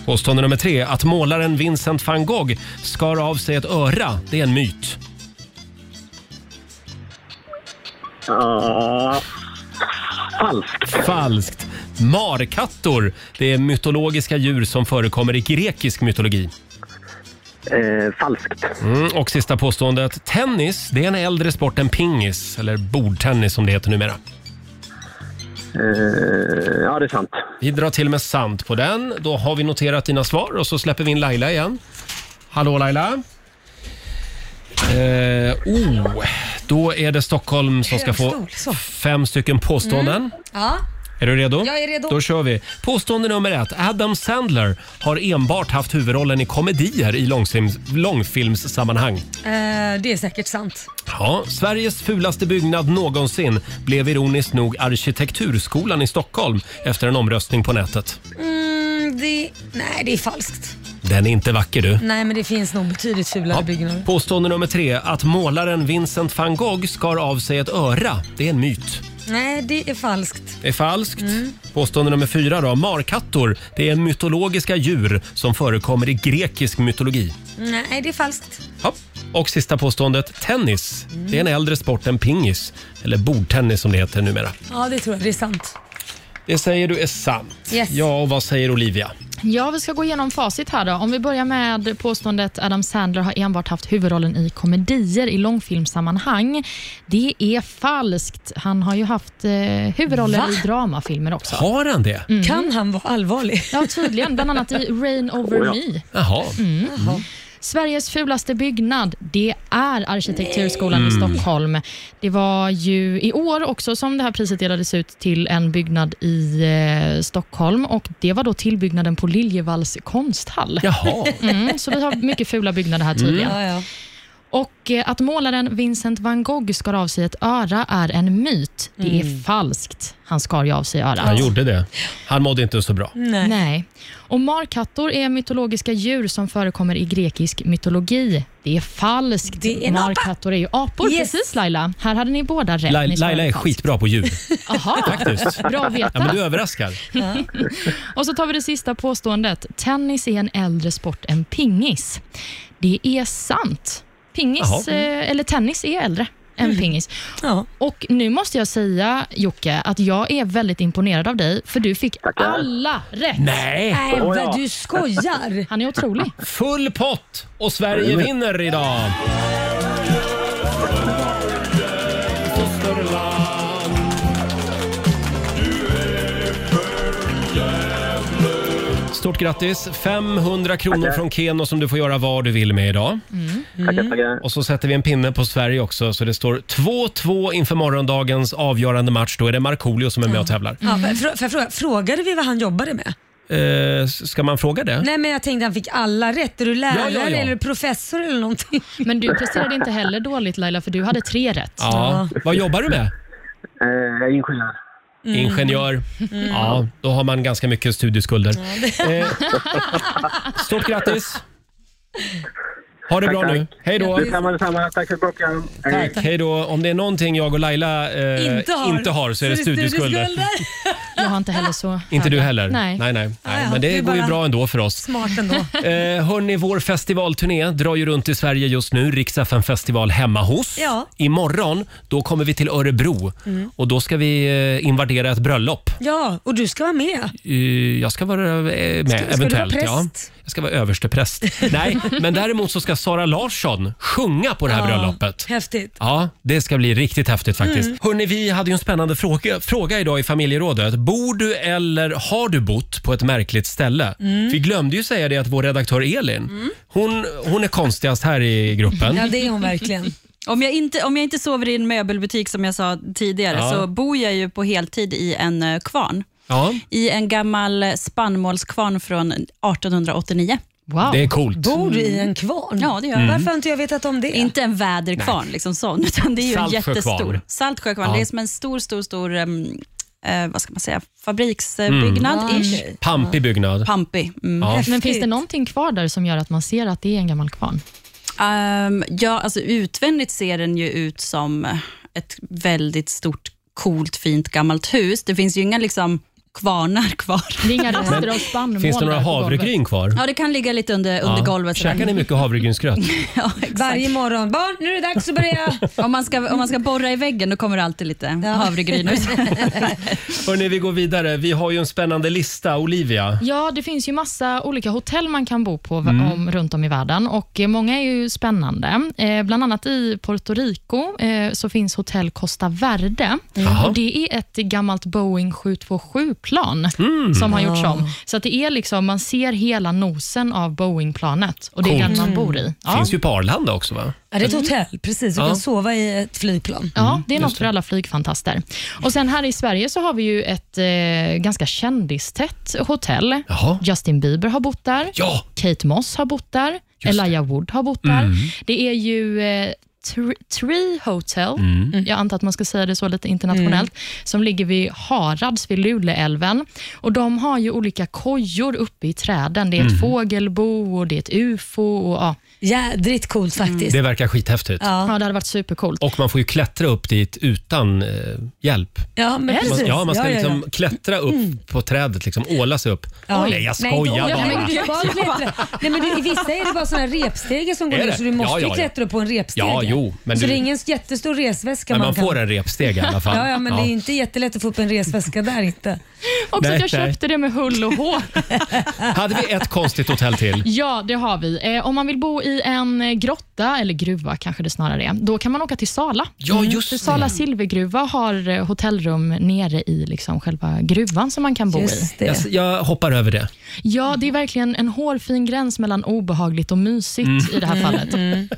Speaker 1: Påstående nummer tre. Att målaren Vincent van Gogh skar av sig ett öra, det är en myt.
Speaker 10: Ah.
Speaker 1: Falskt. Falskt. Markattor, det är mytologiska djur som förekommer i grekisk mytologi.
Speaker 13: Eh, falskt.
Speaker 1: Mm, och sista påståendet. Tennis, det är en äldre sport än pingis, eller bordtennis som det heter numera.
Speaker 13: Eh, ja, det är sant.
Speaker 1: Vi drar till med sant på den. Då har vi noterat dina svar och så släpper vi in Laila igen. Hallå Laila. Eh, oh, då är det Stockholm som ska få
Speaker 3: Högstol, så.
Speaker 1: fem stycken påståenden.
Speaker 3: Mm. Ja.
Speaker 1: Är du redo?
Speaker 3: Jag är redo.
Speaker 1: Då kör vi. Påstående nummer ett. Adam Sandler har enbart haft huvudrollen i komedier i långfilms, långfilmssammanhang.
Speaker 3: Eh, det är säkert sant.
Speaker 1: Ja, Sveriges fulaste byggnad någonsin blev ironiskt nog Arkitekturskolan i Stockholm efter en omröstning på nätet.
Speaker 3: Mm, det... Nej, det är falskt.
Speaker 1: Den är inte vacker du.
Speaker 3: Nej, men det finns nog betydligt fulare byggnader.
Speaker 1: Påstående nummer tre, att målaren Vincent van Gogh skar av sig ett öra. Det är en myt.
Speaker 3: Nej, det är falskt.
Speaker 1: Det är falskt.
Speaker 3: Mm.
Speaker 1: Påstående nummer fyra då, markattor. Det är mytologiska djur som förekommer i grekisk mytologi.
Speaker 3: Nej, det är falskt.
Speaker 1: Ja. Och sista påståendet, tennis. Det är en äldre sport än pingis. Eller bordtennis som det heter numera.
Speaker 3: Ja, det tror jag. Det är sant.
Speaker 1: Det säger du är sant.
Speaker 4: Yes.
Speaker 1: Ja, och vad säger Olivia?
Speaker 4: Ja, vi ska gå igenom facit här då. Om vi börjar med påståendet Adam Sandler har enbart haft huvudrollen i komedier i långfilmssammanhang. Det är falskt. Han har ju haft eh, huvudroller
Speaker 3: Va?
Speaker 4: i dramafilmer också.
Speaker 1: Har han det?
Speaker 4: Mm.
Speaker 3: Kan han vara allvarlig?
Speaker 4: Ja, tydligen. Bland annat i Rain Over
Speaker 1: Åh, ja.
Speaker 4: Me.
Speaker 1: Jaha.
Speaker 4: Mm. Sveriges fulaste byggnad, det är Arkitekturskolan i
Speaker 1: Mm.
Speaker 4: Stockholm. Det var ju i år också som det här priset delades ut till en byggnad i eh, Stockholm och det var då tillbyggnaden på Liljevalchs konsthall.
Speaker 1: Jaha.
Speaker 4: Mm, så vi har mycket fula byggnader här tydligen.
Speaker 3: Mm. Ja,
Speaker 4: Och eh, att målaren Vincent van Gogh skar av sig ett öra är en myt. Det är
Speaker 1: Mm.
Speaker 4: falskt. Han skar ju av sig örat.
Speaker 1: Han gjorde det. Han mådde inte så bra.
Speaker 4: Nej. Och markattor är mytologiska djur som förekommer i grekisk mytologi. Det är falskt.
Speaker 3: är en apa.
Speaker 4: markattor är ju apor.
Speaker 3: Yes.
Speaker 4: Precis Laila. Här hade ni båda rätt.
Speaker 1: Lai-
Speaker 4: Ni svarade
Speaker 1: Laila är
Speaker 4: falskt.
Speaker 1: skitbra på djur.
Speaker 4: Aha,
Speaker 1: Faktiskt.
Speaker 4: Bra att veta.
Speaker 1: Ja, men du överraskar.
Speaker 4: Och så tar vi det sista påståendet. Tennis är en äldre sport än pingis. Det är sant. Pingis,
Speaker 3: Jaha.
Speaker 4: eh, eller tennis är äldre än
Speaker 3: Mm.
Speaker 4: pingis. Och nu måste jag säga, Jocke, att jag är väldigt imponerad av dig, för du fick alla rätt.
Speaker 1: Nej. Nej, vad Oja. du
Speaker 3: skojar!
Speaker 4: Han är otrolig.
Speaker 1: Full pott och Sverige vinner idag. Stort grattis! 500 kronor
Speaker 2: Tackar. Mm.
Speaker 1: från Keno som du får göra vad du vill med idag.
Speaker 2: Tackar, tackar.
Speaker 1: Och så sätter vi en pinne på Sverige också så det står 2-2 inför morgondagens avgörande match. Då är det Markoolio som är med och tävlar.
Speaker 3: Ja, men frå- får jag fråga, frågade vi vad han jobbade med?
Speaker 1: Eh, s- ska man fråga det?
Speaker 3: Nej men jag tänkte han fick alla rätt. Är du lärare
Speaker 1: Ja, ja, ja.
Speaker 3: eller är du professor eller någonting?
Speaker 4: Men du presterade inte heller dåligt Laila, för du hade tre rätt.
Speaker 1: Ja. Vad jobbar du med?
Speaker 13: Eh, ingenjör.
Speaker 4: Mm.
Speaker 1: Ingenjör. Ja, då har man ganska mycket studieskulder. Eh, stort grattis! Ha det
Speaker 13: Tack,
Speaker 1: bra
Speaker 13: tack.
Speaker 1: nu. Hej då!
Speaker 13: Detsamma, detsamma. Tack för ett bra program. Hej.
Speaker 1: Tack, hej då. Om det är någonting jag och Laila eh, inte, har. så är det studieskulder.
Speaker 4: Jag har inte heller så
Speaker 1: Inte du heller?
Speaker 4: Nej.
Speaker 1: nej, nej. nej. Men
Speaker 4: det
Speaker 1: det
Speaker 4: är
Speaker 1: går ju
Speaker 4: bara-
Speaker 1: bra ändå för oss.
Speaker 3: Smart ändå.
Speaker 1: Eh, hörni, vår festivalturné drar ju runt i Sverige just nu. Riksdagen festival hemma hos.
Speaker 3: Ja.
Speaker 1: Imorgon då kommer vi till Örebro
Speaker 3: Mm.
Speaker 1: och då ska vi eh, invadera ett bröllop.
Speaker 3: Ja, och du ska vara med.
Speaker 1: Eh, Jag ska vara eh, med
Speaker 3: Ska- ska du
Speaker 1: eventuellt.
Speaker 3: vara
Speaker 1: ja.
Speaker 3: präst?
Speaker 1: Jag ska vara överstepräst. Nej, men däremot så ska Sara Larsson sjunga på det här
Speaker 3: Ja,
Speaker 1: bröllopet.
Speaker 3: Häftigt.
Speaker 1: Ja, det ska bli riktigt häftigt faktiskt.
Speaker 3: Mm.
Speaker 1: Hörni, vi hade ju en spännande fråga, fråga idag i familjerådet. Bor du eller har du bott på ett märkligt ställe?
Speaker 3: Mm.
Speaker 1: Vi glömde ju säga det att vår redaktör Elin, hon, hon är konstigast här i gruppen.
Speaker 8: Ja,
Speaker 3: det är hon verkligen.
Speaker 8: Om jag, inte, om jag inte sover i en möbelbutik som jag sa tidigare
Speaker 1: Ja.
Speaker 8: så bor jag ju på heltid i en eh, kvarn.
Speaker 1: Ja.
Speaker 8: I en gammal spannmålskvarn från 1889.
Speaker 4: Wow.
Speaker 1: Det är coolt.
Speaker 3: Bor du i en kvarn?
Speaker 8: Ja, det gör jag.
Speaker 1: Mm. Varför
Speaker 3: har inte jag vetat om det?
Speaker 8: Inte en väderkvarn,
Speaker 1: Nej.
Speaker 8: liksom sån, utan det är ju en
Speaker 1: Saltsjökvarn.
Speaker 8: jättestor. Saltsjökvarn.
Speaker 1: Ja.
Speaker 8: Det är som en stor, stor, stor em, eh, vad ska man säga, fabriksbyggnad.
Speaker 4: Mm.
Speaker 8: ish.
Speaker 4: Ja.
Speaker 1: Pampig byggnad.
Speaker 8: Pampig. Mm.
Speaker 1: Ja.
Speaker 4: Men finns det någonting kvar där som gör att man ser att det är en gammal kvarn?
Speaker 8: Ehm, ja, alltså utvändigt ser den ju ut som ett väldigt stort, coolt, fint gammalt hus. Det finns ju inga liksom kvarnar kvar.
Speaker 4: Det är inga rester
Speaker 1: Men
Speaker 4: av spannmål
Speaker 1: Finns det några
Speaker 4: där på golvet?
Speaker 1: havregryn kvar?
Speaker 8: Ja, det kan ligga lite under, under golvet. sådär.
Speaker 1: Käkar ni mycket havregrynsgröt?
Speaker 8: Ja,
Speaker 3: Varje morgon. Barn, nu är det dags att börja.
Speaker 8: om, man ska, om man ska borra i väggen, då kommer det alltid lite havregryn ut.
Speaker 1: Hörni, vi går vidare. Vi har ju en spännande lista. Olivia.
Speaker 4: Ja, det finns ju massa olika hotell man kan bo på v-
Speaker 1: Mm.
Speaker 4: om, runt om i världen och eh, många är ju spännande. Eh, bland annat i Puerto Rico eh, så finns hotell Costa Verde
Speaker 2: Jaha.
Speaker 4: och det är ett gammalt Boeing 727-plan
Speaker 2: Mm.
Speaker 4: som har gjorts om.
Speaker 2: Ah.
Speaker 4: Så att det är liksom, man ser hela nosen av Boeing-planet och det är den
Speaker 1: Coolt. Mm.
Speaker 4: man bor i. Ja.
Speaker 1: Finns ju på Arlanda också va? Mm.
Speaker 3: Ja, det är ett hotell, precis. Du
Speaker 1: Ja. Mm.
Speaker 3: kan sova i ett flygplan.
Speaker 4: Ja, det är
Speaker 1: just
Speaker 4: något för alla flygfantaster. Och sen här i Sverige så har vi ju ett eh, ganska kändistätt hotell. Justin Bieber har bott där. Kate Moss har bott där. Elijah Wood har bott där.
Speaker 2: Mm.
Speaker 4: Det är ju eh, Tr- Tree Hotel,
Speaker 2: Mm.
Speaker 4: jag antar att man ska säga det så lite internationellt,
Speaker 3: Mm.
Speaker 4: som ligger vid Harads vid Luleälven. Och de har ju olika kojor uppe i träden. Det är
Speaker 1: Mm.
Speaker 4: ett fågelbo och det är ett ufo. Och, ja.
Speaker 3: Jädrigt coolt faktiskt.
Speaker 1: Mm. Det verkar skithäftigt.
Speaker 4: Ja. det hade varit supercoolt.
Speaker 1: Och man får ju klättra upp dit utan eh, hjälp.
Speaker 3: Ja, men
Speaker 1: man,
Speaker 3: precis.
Speaker 1: ja, man ska
Speaker 3: Ja, ja, ja. Mm.
Speaker 1: liksom klättra upp på trädet, liksom åla sig upp.
Speaker 3: Ja.
Speaker 1: Nej, jag
Speaker 3: inte
Speaker 1: skojar
Speaker 3: åka. Nej,
Speaker 1: bara.
Speaker 3: men du ska klättra. Nej, men du, I vissa är det bara sådana repstegar som går
Speaker 1: Är
Speaker 3: ner
Speaker 1: det?
Speaker 3: så du måste
Speaker 1: Ja, ja,
Speaker 3: ju
Speaker 1: ja.
Speaker 3: klättra upp på en repstege.
Speaker 1: Ja, jo, Jo, men
Speaker 3: så
Speaker 1: du-
Speaker 3: det är ingen jättestor resväska
Speaker 1: Men man
Speaker 3: kan...
Speaker 1: får en repsteg i alla fall.
Speaker 3: Ja, ja men
Speaker 1: Ja.
Speaker 3: det är inte jättelätt att få upp en resväska där inte.
Speaker 4: Också
Speaker 1: Nej,
Speaker 4: att jag
Speaker 1: nej.
Speaker 4: köpte det med hull och hår.
Speaker 3: äh.
Speaker 1: Hade vi ett konstigt hotell till?
Speaker 4: Ja, det har vi. Eh, om man vill bo i en eh, grotta, eller gruva kanske det snarare är, då kan man åka till Sala.
Speaker 1: Ja,
Speaker 4: Mm.
Speaker 1: just
Speaker 4: För
Speaker 1: det.
Speaker 4: Sala silvergruva har eh, hotellrum nere i liksom själva gruvan som man kan bo i.
Speaker 1: Alltså, Jag, jag hoppar över det.
Speaker 4: Ja, det är verkligen en hårfin gräns mellan obehagligt och mysigt
Speaker 1: Mm.
Speaker 4: i det här
Speaker 3: Mm,
Speaker 4: fallet.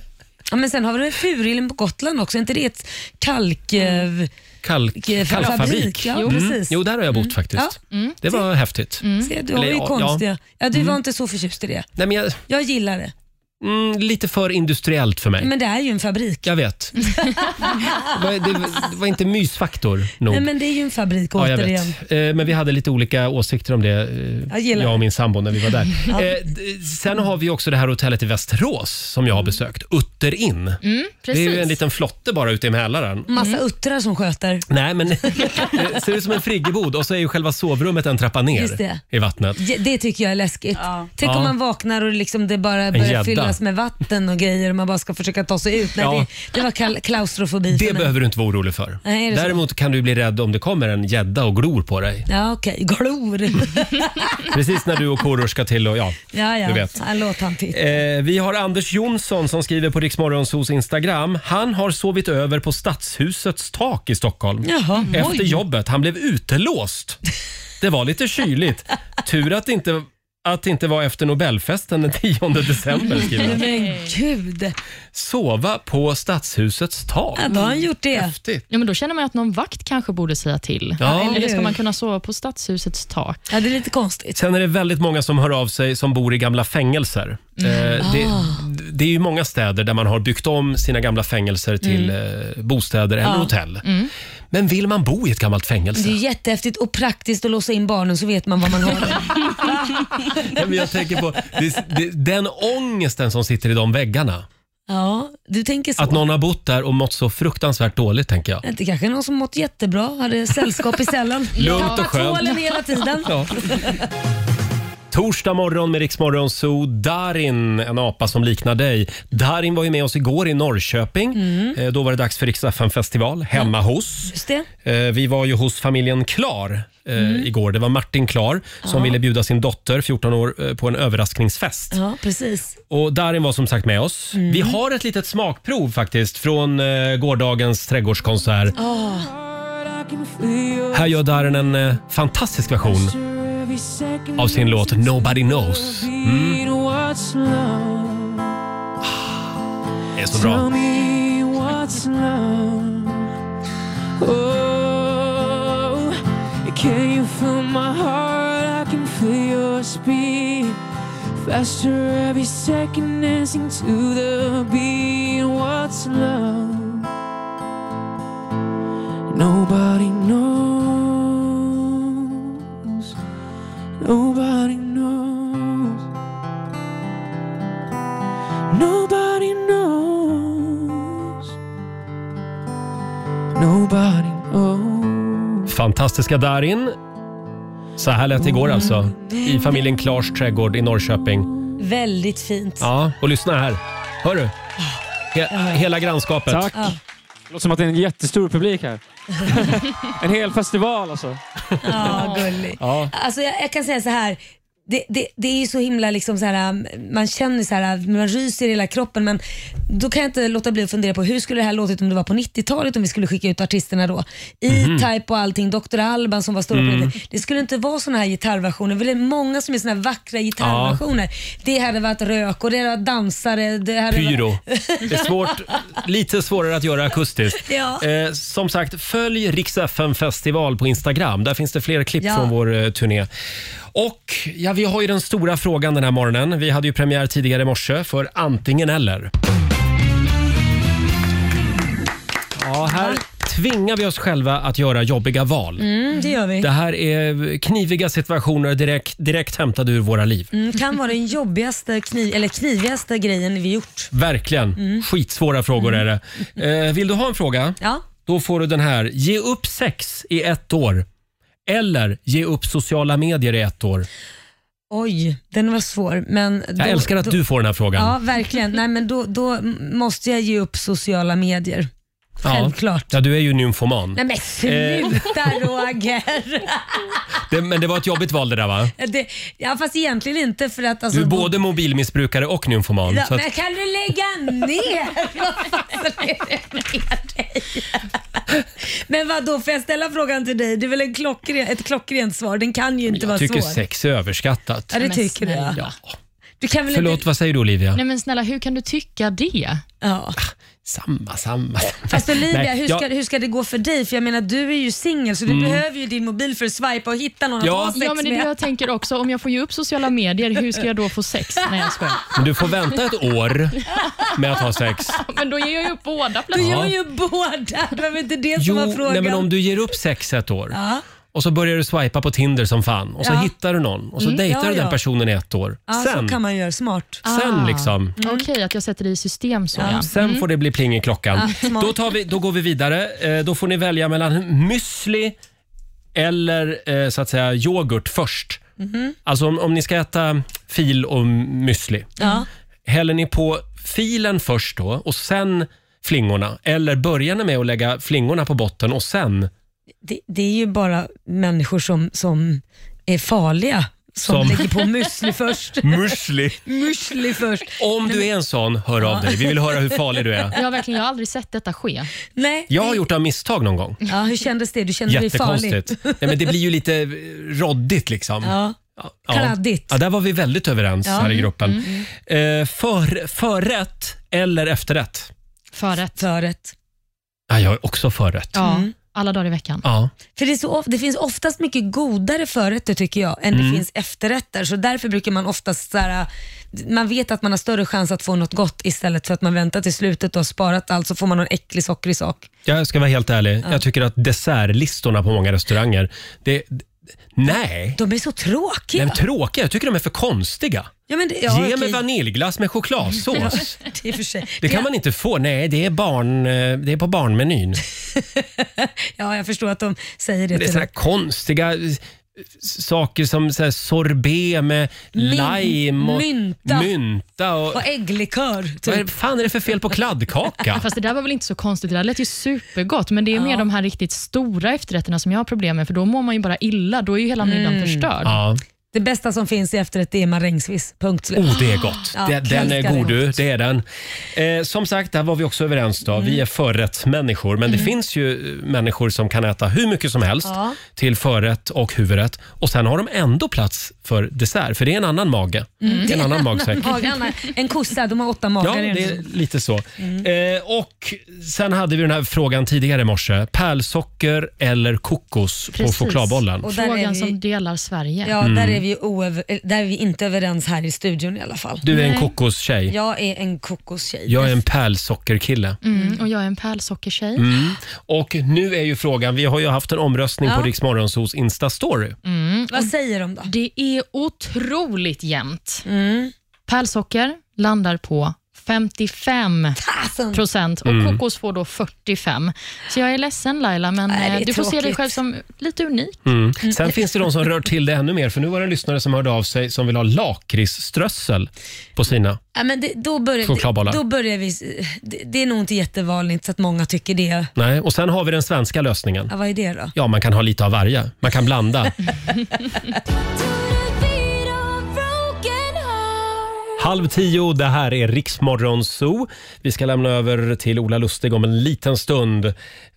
Speaker 3: Ja, men sen har vi den Furillen på Gotland också, är inte det ett kalk... eh,
Speaker 1: Kalk,
Speaker 3: Fabrik,
Speaker 1: kalkfabrik.
Speaker 3: ja,
Speaker 1: mm.
Speaker 3: precis.
Speaker 1: Jo, där har jag bott faktiskt.
Speaker 3: Ja. Mm.
Speaker 1: Det var häftigt.
Speaker 3: Se, du har
Speaker 1: Eller,
Speaker 3: ju
Speaker 1: ja,
Speaker 3: konstiga... Ja,
Speaker 1: ja.
Speaker 3: du var
Speaker 1: Mm.
Speaker 3: inte så förtjust i det.
Speaker 1: Nej, men jag,
Speaker 3: Jag gillar det.
Speaker 1: mm, lite för industriellt för mig.
Speaker 3: Men det är ju en fabrik.
Speaker 1: Jag vet. Det var, det, det var inte mysfaktor nog.
Speaker 3: Nej, men det är ju en fabrik
Speaker 1: Ja, jag
Speaker 3: återigen.
Speaker 1: vet. Eh, Men vi hade lite olika åsikter om det, eh,
Speaker 3: Jag
Speaker 1: jag,
Speaker 3: gillar
Speaker 1: och min sambo, när vi var där.
Speaker 3: Ja.
Speaker 1: Eh, d- Sen har vi också det här hotellet i Västerås som jag har besökt, Utterin.
Speaker 3: Mm,
Speaker 1: det är ju
Speaker 3: precis.
Speaker 1: en liten flotte bara ute i Mälaren. Mm.
Speaker 3: Massa uttrar som sköter.
Speaker 1: Nej, men det ser ut som en friggebod och så är ju själva sovrummet en trappa
Speaker 3: Just det.
Speaker 1: ner i vattnet.
Speaker 3: Ja, Det tycker jag är läskigt. Tänk
Speaker 1: Ja.
Speaker 3: om man vaknar och liksom det bara
Speaker 1: gädda.
Speaker 3: börjar fyllas med vatten och grejer och man bara ska försöka ta sig ut. Nej,
Speaker 1: Ja.
Speaker 3: det, det var kal- klaustrofobi för
Speaker 1: Det
Speaker 3: mig.
Speaker 1: behöver du inte vara orolig för.
Speaker 3: Nej, är det så?
Speaker 1: Däremot kan du bli rädd om det kommer en gädda och glor på dig.
Speaker 3: Ja, okej. Glor.
Speaker 1: Precis när du och Korosh ska till och ja,
Speaker 3: ja, ja.
Speaker 1: du vet.
Speaker 3: Ja, Låt han titta.
Speaker 1: Eh, vi har Anders Jonsson som skriver på Riksmorgonsos Instagram. Han har sovit över på Stadshusets tak i Stockholm.
Speaker 3: Jaha,
Speaker 1: Efter
Speaker 3: oj.
Speaker 1: jobbet. Han blev utelåst. Det var lite kyligt. Tur att det inte, att det inte var efter Nobelfesten den 10 december. skriver han.
Speaker 3: Men gud.
Speaker 1: Sova på Stadshusets tak.
Speaker 3: Ja, då har han gjort det.
Speaker 4: Ja, men då känner man ju att någon vakt kanske borde säga till.
Speaker 1: Ja.
Speaker 4: Eller ska man kunna sova på stadshusets tak?
Speaker 3: Ja, det är lite konstigt.
Speaker 1: Sen är det väldigt många som hör av sig som bor i gamla fängelser.
Speaker 4: Mm.
Speaker 1: Eh, det,
Speaker 4: Ah.
Speaker 1: det är ju många städer där man har byggt om sina gamla fängelser till eh, bostäder eller
Speaker 3: Ja.
Speaker 1: hotell.
Speaker 3: Mm.
Speaker 1: Men vill man bo i ett gammalt
Speaker 3: Det är
Speaker 1: fängelse?
Speaker 3: ju jättehäftigt och praktiskt att låsa in barnen så vet man vad man har.
Speaker 1: Ja, men jag tänker på det, det, den ångesten som sitter i de väggarna.
Speaker 3: Ja, du tänker så.
Speaker 1: Att någon har bott där och mått så fruktansvärt dåligt, tänker jag.
Speaker 3: Det kanske är någon som mått jättebra, hade sällskap i cellen.
Speaker 1: Lugnt och skönt.
Speaker 3: Tvålen hela tiden.
Speaker 1: Ja. Torsdag morgon med Riksmorgon Zoo. Darin, en apa som liknar dig. Darin var ju med oss igår i Norrköping.
Speaker 3: Mm.
Speaker 1: Eh, Då var det dags för Riksdagen festival hemma hos.
Speaker 3: Just det.
Speaker 1: Eh, Vi var ju hos familjen Klar eh, igår. Det var Martin Klar som
Speaker 3: Mm. Ja.
Speaker 1: ville bjuda sin dotter, 14 år, eh, på en överraskningsfest.
Speaker 3: Ja, precis. Mm.
Speaker 1: Och Darin var som sagt med oss. Vi har ett litet smakprov faktiskt från eh, gårdagens trädgårdskonsert.
Speaker 3: Åh.
Speaker 1: Här gör Darin en eh, fantastisk version av sin låt Nobody knows. Mm, det är så bra.
Speaker 2: Oh, Can you feel my heart? I can feel your speed. Faster every second, dancing to the beat. What's love? Nobody knows. Nobody knows. Nobody knows. Nobody knows.
Speaker 1: Fantastiska Darin. Så här lät det igår alltså, i familjen Klars trädgård i Norrköping.
Speaker 3: Väldigt fint.
Speaker 1: Ja, och lyssna här. Hör du? He- hela grannskapet.
Speaker 14: Tack.
Speaker 3: Ja.
Speaker 14: Det låter som att det är en jättestor publik här. en hel festival alltså.
Speaker 3: Ja, gullig.
Speaker 14: Ja.
Speaker 3: Alltså, jag, jag kan säga så här. Det, det, det är ju så himla liksom så här, um, man känner så här, um, man ryser i hela kroppen men då kan jag inte låta bli att fundera på hur skulle det här låtit om det var på 90-talet om vi skulle skicka ut artisterna då?
Speaker 2: Mhm.
Speaker 3: E-Type och allting, Dr. Alban som var stora
Speaker 2: Mm.
Speaker 3: mm. Det skulle inte vara såna här gitarrversioner, det är många som är såna här vackra gitarrversioner. Det hade varit rök och det hade varit dansare. Det hade
Speaker 1: Pyro.
Speaker 3: Varit...
Speaker 1: Det är svårt, lite svårare att göra akustiskt.
Speaker 3: Ja.
Speaker 1: Eh, som sagt, följ Rix FM festival på Instagram. Där finns det fler klipp
Speaker 3: Ja.
Speaker 1: från vår eh, turné. Och ja, vi har ju den stora frågan den här morgonen. Vi hade ju premiär tidigare i morse för Antingen eller. Ja, här tvingar vi oss själva att göra jobbiga val.
Speaker 3: Mm, det gör vi.
Speaker 1: Det här är kniviga situationer direkt, direkt hämtade ur våra liv.
Speaker 3: Mm, kan vara den jobbigaste kniv, eller knivigaste grejen vi gjort.
Speaker 1: Verkligen.
Speaker 3: Mm.
Speaker 1: Skitsvåra frågor är det. Eh, vill du ha en fråga?
Speaker 3: Ja.
Speaker 1: Då får du den här. Ge upp sex i ett år. Eller ge upp sociala medier i ett år.
Speaker 3: Oj, den var svår. Men då,
Speaker 1: Jag älskar att
Speaker 3: då,
Speaker 1: du får den här frågan.
Speaker 3: Ja, verkligen. Nej, men då, då måste jag ge upp sociala medier.
Speaker 1: Ja.
Speaker 3: Självklart.
Speaker 1: Ja, du är ju nymfoman. Eh,
Speaker 3: Nej men sluta Roger!
Speaker 1: Det, men det var ett jobbigt val det där va?
Speaker 3: Det, ja fast egentligen inte för att... Alltså,
Speaker 1: Du är både mobilmissbrukare och nymfoman.
Speaker 3: Ja,
Speaker 1: så att,
Speaker 3: men kan du lägga ner? Vad fasen är det med dig? Men vad då får jag ställa frågan till dig? Det är väl en klockren, ett klockrent svar? Den kan ju inte vara
Speaker 1: jag tycker
Speaker 3: svår.
Speaker 1: sex är överskattat.
Speaker 3: Ja, det tycker du ja. Du kan väl
Speaker 1: Förlåt,
Speaker 3: inte...
Speaker 1: vad säger du Olivia?
Speaker 4: Nej men snälla, hur kan du tycka det?
Speaker 3: Ja.
Speaker 1: Samma, samma.
Speaker 3: Fast Alltså, Olivia,
Speaker 1: Nej,
Speaker 3: hur,
Speaker 1: jag-
Speaker 3: ska, hur ska det gå för dig? För jag menar, du är ju singel så du
Speaker 1: Mm.
Speaker 3: behöver ju din mobil för att swipa och hitta någon att ha sex
Speaker 4: ja, men det är det
Speaker 3: med.
Speaker 4: jag tänker också. Om jag får ge upp sociala medier, hur ska jag då få sex? Nej, jag skojar.
Speaker 1: Men du får vänta ett år med att ha sex.
Speaker 4: Men då ger jag ju upp båda
Speaker 3: Du
Speaker 1: Ja.
Speaker 3: gör ju båda! Det var väl inte det som var
Speaker 1: Jo,
Speaker 3: frågan.
Speaker 1: nej, men om du ger upp sex ett år
Speaker 3: Ja.
Speaker 1: och så börjar du swipa på Tinder som fan och så
Speaker 3: Ja.
Speaker 1: hittar du någon och så
Speaker 3: Mm,
Speaker 1: dejtar
Speaker 3: ja,
Speaker 1: du den
Speaker 3: ja.
Speaker 1: personen i ett år.
Speaker 3: Ja, så
Speaker 1: sen
Speaker 3: kan man göra. Smart. Ah. Mm.
Speaker 1: Sen liksom.
Speaker 4: Okej, att jag sätter det i system så. Ja. Mm.
Speaker 1: Sen får det bli pling i klockan.
Speaker 4: Ja, smart.
Speaker 1: då, tar vi, då går vi vidare. Eh, Då får ni välja mellan müsli eller eh, så att säga yoghurt först.
Speaker 3: Mhm.
Speaker 1: Alltså om, om ni ska äta fil och müsli.
Speaker 3: Ja.
Speaker 1: Häller ni på filen först då och sen flingorna? Eller börjar ni med att lägga flingorna på botten och sen
Speaker 3: Det, det är ju bara människor som, som är farliga som,
Speaker 1: Som-
Speaker 3: lägger på müsli först.
Speaker 1: müsli?
Speaker 3: müsli först.
Speaker 1: Om du är en sån, hör av dig. Vi vill höra hur farlig du är.
Speaker 4: Jag, har verkligen, jag har aldrig sett detta ske.
Speaker 3: Nej.
Speaker 1: Jag har gjort det av misstag någon gång.
Speaker 3: Ja, hur kändes det? Du kände dig farlig?
Speaker 1: Jättekonstigt. Nej, men det blir ju lite eh, råddigt liksom.
Speaker 3: Ja. Kladdigt.
Speaker 1: Ja, där var vi väldigt överens
Speaker 3: Ja.
Speaker 1: här i gruppen.
Speaker 3: Mm.
Speaker 1: Eh, för, förrätt eller efterrätt?
Speaker 4: Förrätt.
Speaker 3: Förrätt. Mm.
Speaker 1: Ja, jag är också förrätt.
Speaker 4: Ja, alla dagar i veckan.
Speaker 1: Ja.
Speaker 3: För det, är så of- det finns oftast mycket godare förrätter tycker jag, än
Speaker 1: Mm.
Speaker 3: det finns efterrätter. Så därför brukar man oftast så här, man vet att man har större chans att få något gott istället för att man väntar till slutet och har sparat allt så får man någon äcklig sockrig sak.
Speaker 1: Jag ska vara helt ärlig.
Speaker 3: Ja.
Speaker 1: Jag tycker att dessertlistorna på många restauranger, det... d- Nej!
Speaker 3: De är så tråkiga.
Speaker 1: De är tråkiga. Jag tycker de är för konstiga.
Speaker 3: Ja, men det- ja,
Speaker 1: Ge mig
Speaker 3: okej.
Speaker 1: vaniljglass med chokladsås.
Speaker 3: Ja, det, är för sig.
Speaker 1: Det kan man inte få. Nej, det är, barn, eh, det är på barnmenyn.
Speaker 3: Ja, jag förstår att de säger det,
Speaker 1: Det är
Speaker 3: till
Speaker 1: såna här
Speaker 3: dig.
Speaker 1: konstiga eh, s- saker som så här sorbet med lime och
Speaker 3: mynta.
Speaker 1: mynta och,
Speaker 3: Och ägglikör. Typ.
Speaker 1: Vad är, fan är det för fel på kladdkaka?
Speaker 4: Fast det där var väl inte så konstigt. Det där lät ju supergott, men det är mer de här riktigt stora efterrätterna som jag har problem med, för då mår man ju bara illa. Då är ju hela middagen
Speaker 3: Mm.
Speaker 4: förstörd.
Speaker 1: Ja.
Speaker 3: Det bästa som finns i efterrätt det är marängsviss. Punkt slut.
Speaker 1: Oh, det är gott.
Speaker 3: Ah, Ja,
Speaker 1: den, den är
Speaker 3: älskar det.
Speaker 1: god du, det är den. Eh, som sagt, där var vi också överens då. Vi är förrättsmänniskor, men det
Speaker 3: Mm.
Speaker 1: finns ju eh, människor som kan äta hur mycket som helst
Speaker 3: Ja.
Speaker 1: till förrätt och huvudrätt och sen har de ändå plats för dessert, för det är en annan mage.
Speaker 3: Mm.
Speaker 1: Det är en annan magsäck.
Speaker 3: mage, Anna. En kossa, de har åtta magar.
Speaker 1: Ja,
Speaker 3: i den.
Speaker 1: det är lite så.
Speaker 3: Mm.
Speaker 1: Eh, och Sen hade vi den här frågan tidigare i morse. Pärlsocker eller kokos på chokladbollen?
Speaker 3: Och där är
Speaker 4: Frågan
Speaker 3: vi-
Speaker 4: som delar Sverige.
Speaker 3: Ja, där,
Speaker 1: Mm.
Speaker 3: är vi ju oöver, eh, där är vi inte överens här i studion i alla fall.
Speaker 1: Du är en kokostjej.
Speaker 3: Jag är en kokostjej.
Speaker 1: Jag är en pärlsockerkille.
Speaker 4: Mm, och jag är en pärlsockertjej.
Speaker 1: Mm. Och nu är ju frågan, vi har ju haft en omröstning
Speaker 4: Ja.
Speaker 1: på Rix Morgonzos Insta-story.
Speaker 3: Vad säger de då?
Speaker 4: Mm.
Speaker 3: Mm.
Speaker 4: Det är otroligt jämnt. Pärlsocker landar på 55 procent och
Speaker 1: Mm.
Speaker 4: kokos får då 45. Så jag är ledsen Laila, men
Speaker 3: Nej, det är
Speaker 4: eh, du får se dig
Speaker 3: tråkigt.
Speaker 4: själv som lite unik.
Speaker 1: Mm. Sen finns det de som rör till det ännu mer, för nu var det en lyssnare som hörde av sig som vill ha lakritsströssel på sina.
Speaker 3: Ja, men det, då,
Speaker 1: Chokladbollar.
Speaker 3: börjar, då börjar vi... Det, det är nog inte jättevanligt så att många tycker det.
Speaker 1: Nej, och sen har vi den svenska lösningen.
Speaker 3: Ja, vad är det då?
Speaker 1: Ja, man kan ha lite av varje. Man kan blanda. Halv tio, det här är Riksmorgon Zoo. Vi ska lämna över till Ola Lustig om en liten stund.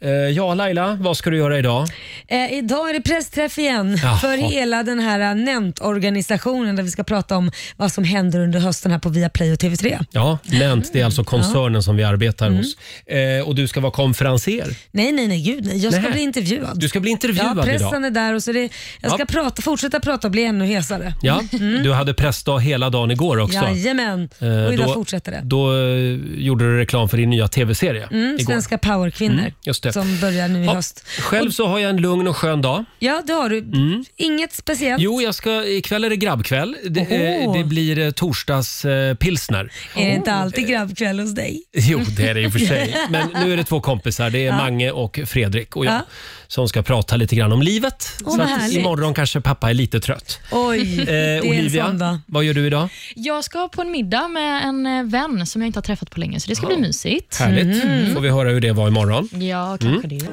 Speaker 1: Eh, Ja, Laila, vad ska du göra idag?
Speaker 3: Eh, idag är det pressträff igen
Speaker 1: Jaha.
Speaker 3: för hela den här NENT-organisationen där vi ska prata om vad som händer under hösten här på Viaplay och TV3.
Speaker 1: Ja, Nent, det är alltså koncernen som vi arbetar
Speaker 3: Mm.
Speaker 1: hos. Eh, Och du ska vara konferenser.
Speaker 3: Nej, nej, nej, gud nej. Jag ska
Speaker 1: Nej.
Speaker 3: bli intervjuad.
Speaker 1: Du ska bli intervjuad
Speaker 3: ja, pressen
Speaker 1: idag.
Speaker 3: är där och så det, jag ska
Speaker 1: Ja.
Speaker 3: prata, fortsätta prata och bli ännu hesare.
Speaker 1: Ja,
Speaker 3: Mm.
Speaker 1: Du hade pressdag hela dagen igår också.
Speaker 3: Jajamän,
Speaker 1: Eh,
Speaker 3: och idag
Speaker 1: då-
Speaker 3: fortsätter det.
Speaker 1: Då eh, gjorde du reklam för din nya tv-serie
Speaker 3: Mm,
Speaker 1: igår.
Speaker 3: svenska powerkvinnor
Speaker 1: Mm, just det.
Speaker 3: som börjar nu i
Speaker 1: Ja,
Speaker 3: höst.
Speaker 1: Själv så har jag en lugn och skön dag.
Speaker 3: Ja, det har du.
Speaker 1: Mm.
Speaker 3: Inget speciellt.
Speaker 1: Jo, jag ska, ikväll är det grabbkväll. Det, eh,
Speaker 3: Oho.
Speaker 1: det blir eh, torsdags eh, pilsner.
Speaker 3: Är det
Speaker 1: Oh.
Speaker 3: inte alltid grabbkväll hos dig?
Speaker 1: Jo, det är det i och för sig. Men nu är det två kompisar. Det är
Speaker 3: Ja.
Speaker 1: Mange och Fredrik och jag
Speaker 3: Ja.
Speaker 1: som ska prata lite grann om livet.
Speaker 3: Åh,
Speaker 1: så
Speaker 3: vad
Speaker 1: att
Speaker 3: härligt.
Speaker 1: imorgon kanske pappa är lite trött. Eh,
Speaker 3: Oj, det är en sån dag.
Speaker 1: Olivia, vad gör du idag?
Speaker 4: Jag ska på en middag med en eh, vän som jag inte har träffat på länge, så det ska bli mysigt.
Speaker 1: Härligt.
Speaker 4: Mm.
Speaker 1: Får vi höra hur det var imorgon.
Speaker 4: Ja, kanske
Speaker 1: Mm.
Speaker 4: det.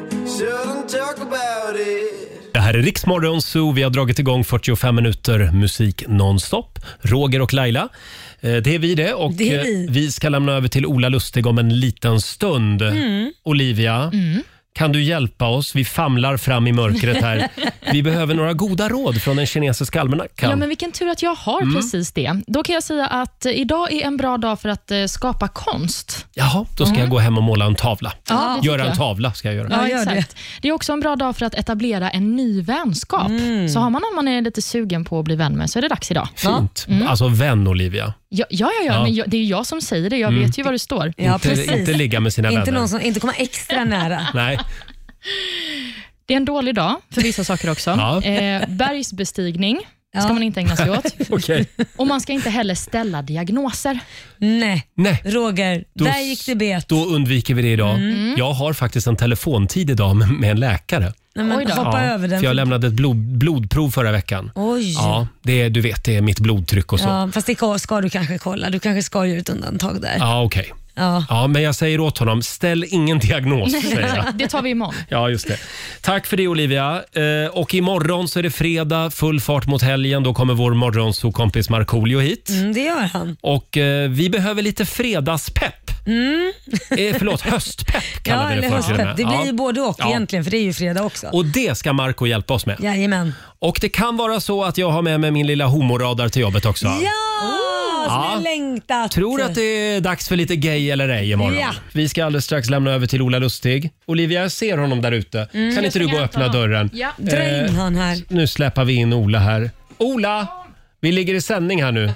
Speaker 1: Det här är Riksmorgon Zoo. Vi har dragit igång 45 minuter musik nonstop. Roger och Laila, eh, det är vi det. Och
Speaker 3: Det är
Speaker 1: eh,
Speaker 3: vi.
Speaker 1: vi ska lämna över till Ola Lustig om en liten stund.
Speaker 3: Mm.
Speaker 1: Olivia, kan du hjälpa oss? Vi famlar fram i mörkret här. vi behöver några goda råd från den kinesiska almanackan.
Speaker 4: Ja, men vilken tur att jag har
Speaker 1: Mm.
Speaker 4: precis det. Då kan jag säga att eh, idag är en bra dag för att eh, skapa konst.
Speaker 1: Jaha, då ska jag gå hem och måla en tavla.
Speaker 4: Mm. Ja, det
Speaker 1: göra
Speaker 4: tycker
Speaker 1: en
Speaker 4: jag.
Speaker 1: tavla ska jag göra.
Speaker 4: exakt. det. är också en bra dag för att etablera en ny vänskap.
Speaker 3: Mm.
Speaker 4: Så har man någon man är lite sugen på att bli vän med, så är det dags idag.
Speaker 1: Fint.
Speaker 4: Mm.
Speaker 1: Alltså vän Olivia.
Speaker 4: Ja, ja, ja, ja,
Speaker 1: Ja.
Speaker 4: men jag, det är ju jag som säger det. Jag
Speaker 1: Mm.
Speaker 4: vet ju vad det står.
Speaker 1: inte, inte ligga med sina
Speaker 3: Inte
Speaker 1: vänner.
Speaker 3: någon som inte kommer extra nära.
Speaker 1: Nej.
Speaker 4: Det är en dålig dag för vissa saker också.
Speaker 1: Ja.
Speaker 4: Eh, bergsbestigning ska man inte ägna sig åt.
Speaker 1: Okej.
Speaker 4: Och man ska inte heller ställa diagnoser.
Speaker 3: Nej,
Speaker 1: Nej.
Speaker 3: Roger.
Speaker 1: Då
Speaker 3: där gick det bet.
Speaker 1: Då undviker vi det idag.
Speaker 3: Mm.
Speaker 1: Jag har faktiskt en telefontid idag med- med en läkare.
Speaker 3: Nej, men
Speaker 1: Ja,
Speaker 3: hoppa över den.
Speaker 1: För jag lämnade ett blod, blodprov förra veckan.
Speaker 3: Oj.
Speaker 1: Ja, det, är- du vet, det är mitt blodtryck och så. Ja,
Speaker 3: Ja, fast det ska- ska du kanske kolla. Du kanske ska göra ett undantag där.
Speaker 1: okej.
Speaker 3: Ja.
Speaker 1: Ja, men jag säger åt honom, ställ ingen diagnos. säger jag.
Speaker 4: det tar vi imorgon.
Speaker 1: Ja, just det. Tack för det Olivia. Eh, och imorgon så är det fredag, full fart mot helgen. Då kommer vår morgonsokompis Markoolio hit.
Speaker 3: Mm, det gör han.
Speaker 1: Och eh, vi behöver lite fredagspepp.
Speaker 3: Mm.
Speaker 1: Eh, förlåt, höstpepp kallar
Speaker 3: Ja,
Speaker 1: vi
Speaker 3: eller
Speaker 1: det för till och med.
Speaker 3: höstpepp. Det blir ju
Speaker 1: Ja.
Speaker 3: både och
Speaker 1: Ja.
Speaker 3: egentligen, för det är ju fredag också.
Speaker 1: Och det ska Marco hjälpa oss med.
Speaker 3: Jajamän.
Speaker 1: Och det kan vara så att jag har med mig min lilla homoradar till jobbet också.
Speaker 3: Ja! Som
Speaker 1: Ja.
Speaker 3: jag längtat.
Speaker 1: Tror att det är dags för lite gay eller ej imorgon?
Speaker 3: Ja.
Speaker 1: Vi ska alldeles strax lämna över till Ola Lustig. Olivia, jag ser honom där ute.
Speaker 3: Mm.
Speaker 1: Kan
Speaker 3: Jag
Speaker 1: inte du
Speaker 3: ska
Speaker 1: gå och
Speaker 3: hämta
Speaker 1: öppna
Speaker 3: honom.
Speaker 1: dörren? Eh,
Speaker 3: Ja. Dra in han här.
Speaker 1: Nu släpper vi in Ola här. Ola! Vi ligger i sändning här nu.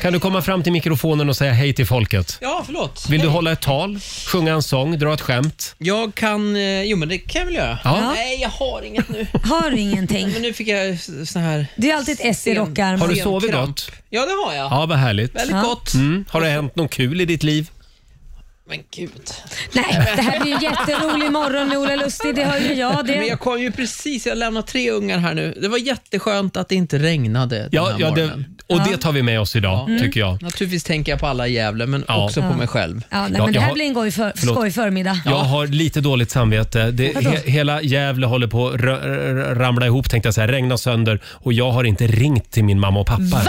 Speaker 1: Kan du komma fram till mikrofonen och säga hej till folket?
Speaker 9: Ja, förlåt.
Speaker 1: Vill du hålla ett tal, sjunga en sång, dra ett skämt?
Speaker 9: Jag kan... eh, Jo, men det kan jag väl göra?
Speaker 1: Ja.
Speaker 9: Nej, jag har inget nu.
Speaker 3: Har du ingenting?
Speaker 9: Men nu fick jag s- sån här...
Speaker 3: Det är alltid ett S i
Speaker 9: sen-
Speaker 3: rockarmen.
Speaker 1: Har du sovit
Speaker 9: kramp.
Speaker 1: gott?
Speaker 9: Ja, det har jag.
Speaker 1: Ja, vad härligt.
Speaker 9: Väldigt Ja. gott.
Speaker 1: Mm. Har det hänt något kul i ditt liv?
Speaker 9: Men gud.
Speaker 3: Nej, det här blir ju jätterolig morgon med Ola Lustig, det hör ju jag.
Speaker 9: Men jag
Speaker 3: Det.
Speaker 9: kom ju precis, jag lämnade tre ungar här nu. Det var jätteskönt att det inte regnade den
Speaker 1: Ja,
Speaker 9: här
Speaker 1: ja det,
Speaker 9: morgonen.
Speaker 1: och det tar vi med oss idag,
Speaker 9: Ja.
Speaker 1: tycker jag.
Speaker 9: Naturligtvis tänker jag på alla i Gävle, men
Speaker 1: Ja.
Speaker 9: också på
Speaker 3: Ja.
Speaker 9: mig själv.
Speaker 3: Ja, nej,
Speaker 1: Ja,
Speaker 3: men det
Speaker 1: jag
Speaker 3: här
Speaker 1: har-
Speaker 3: blir en skoj för,
Speaker 1: Förlåt.
Speaker 3: skoj förmiddag.
Speaker 1: Jag har lite dåligt samvete. Det,
Speaker 3: Vadå?
Speaker 1: he, hela Gävle håller på att rö- r- ramla ihop, tänkte jag säga. Regna sönder. Och jag har inte ringt till min mamma och pappa. än.
Speaker 3: Va?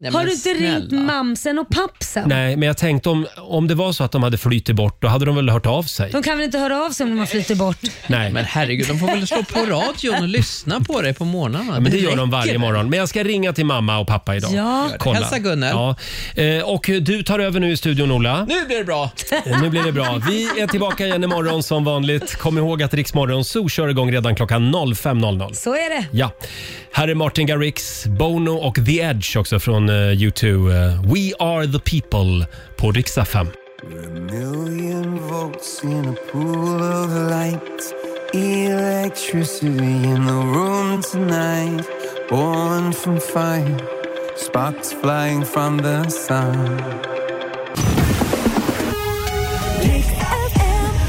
Speaker 9: Nej,
Speaker 3: har
Speaker 9: men
Speaker 3: du inte ringt mamsen och pappsen?
Speaker 1: Nej, men jag tänkte om, om det var så att de hade flyttit bort, då hade de väl hört av sig?
Speaker 3: De kan väl inte höra av sig om de har flyttat bort?
Speaker 1: Nej.
Speaker 9: Men herregud, de får väl slå på radion och lyssna på dig på morgnarna.
Speaker 1: Ja, men det gör de
Speaker 9: räcker
Speaker 1: varje
Speaker 9: väl?
Speaker 1: morgon. Men jag ska ringa till mamma och pappa idag.
Speaker 9: Ja.
Speaker 1: Kolla.
Speaker 9: Hälsa Gunnel.
Speaker 1: Ja. Eh, Och du tar över nu i studion, Ola.
Speaker 9: Nu blir det bra.
Speaker 1: Eh, Nu blir det bra. Vi är tillbaka igen imorgon som vanligt. Kom ihåg att Riksmorgon Zoo kör igång redan klockan 05.00.
Speaker 3: Så är det.
Speaker 1: Ja. Här är Martin Garrix, Bono och The Edge också från eh, U2. eh, We are the people på riksdag 5.
Speaker 7: Million volts in a pool of light. Electricity in the room tonight. Born from fire. Sparks flying from the sun.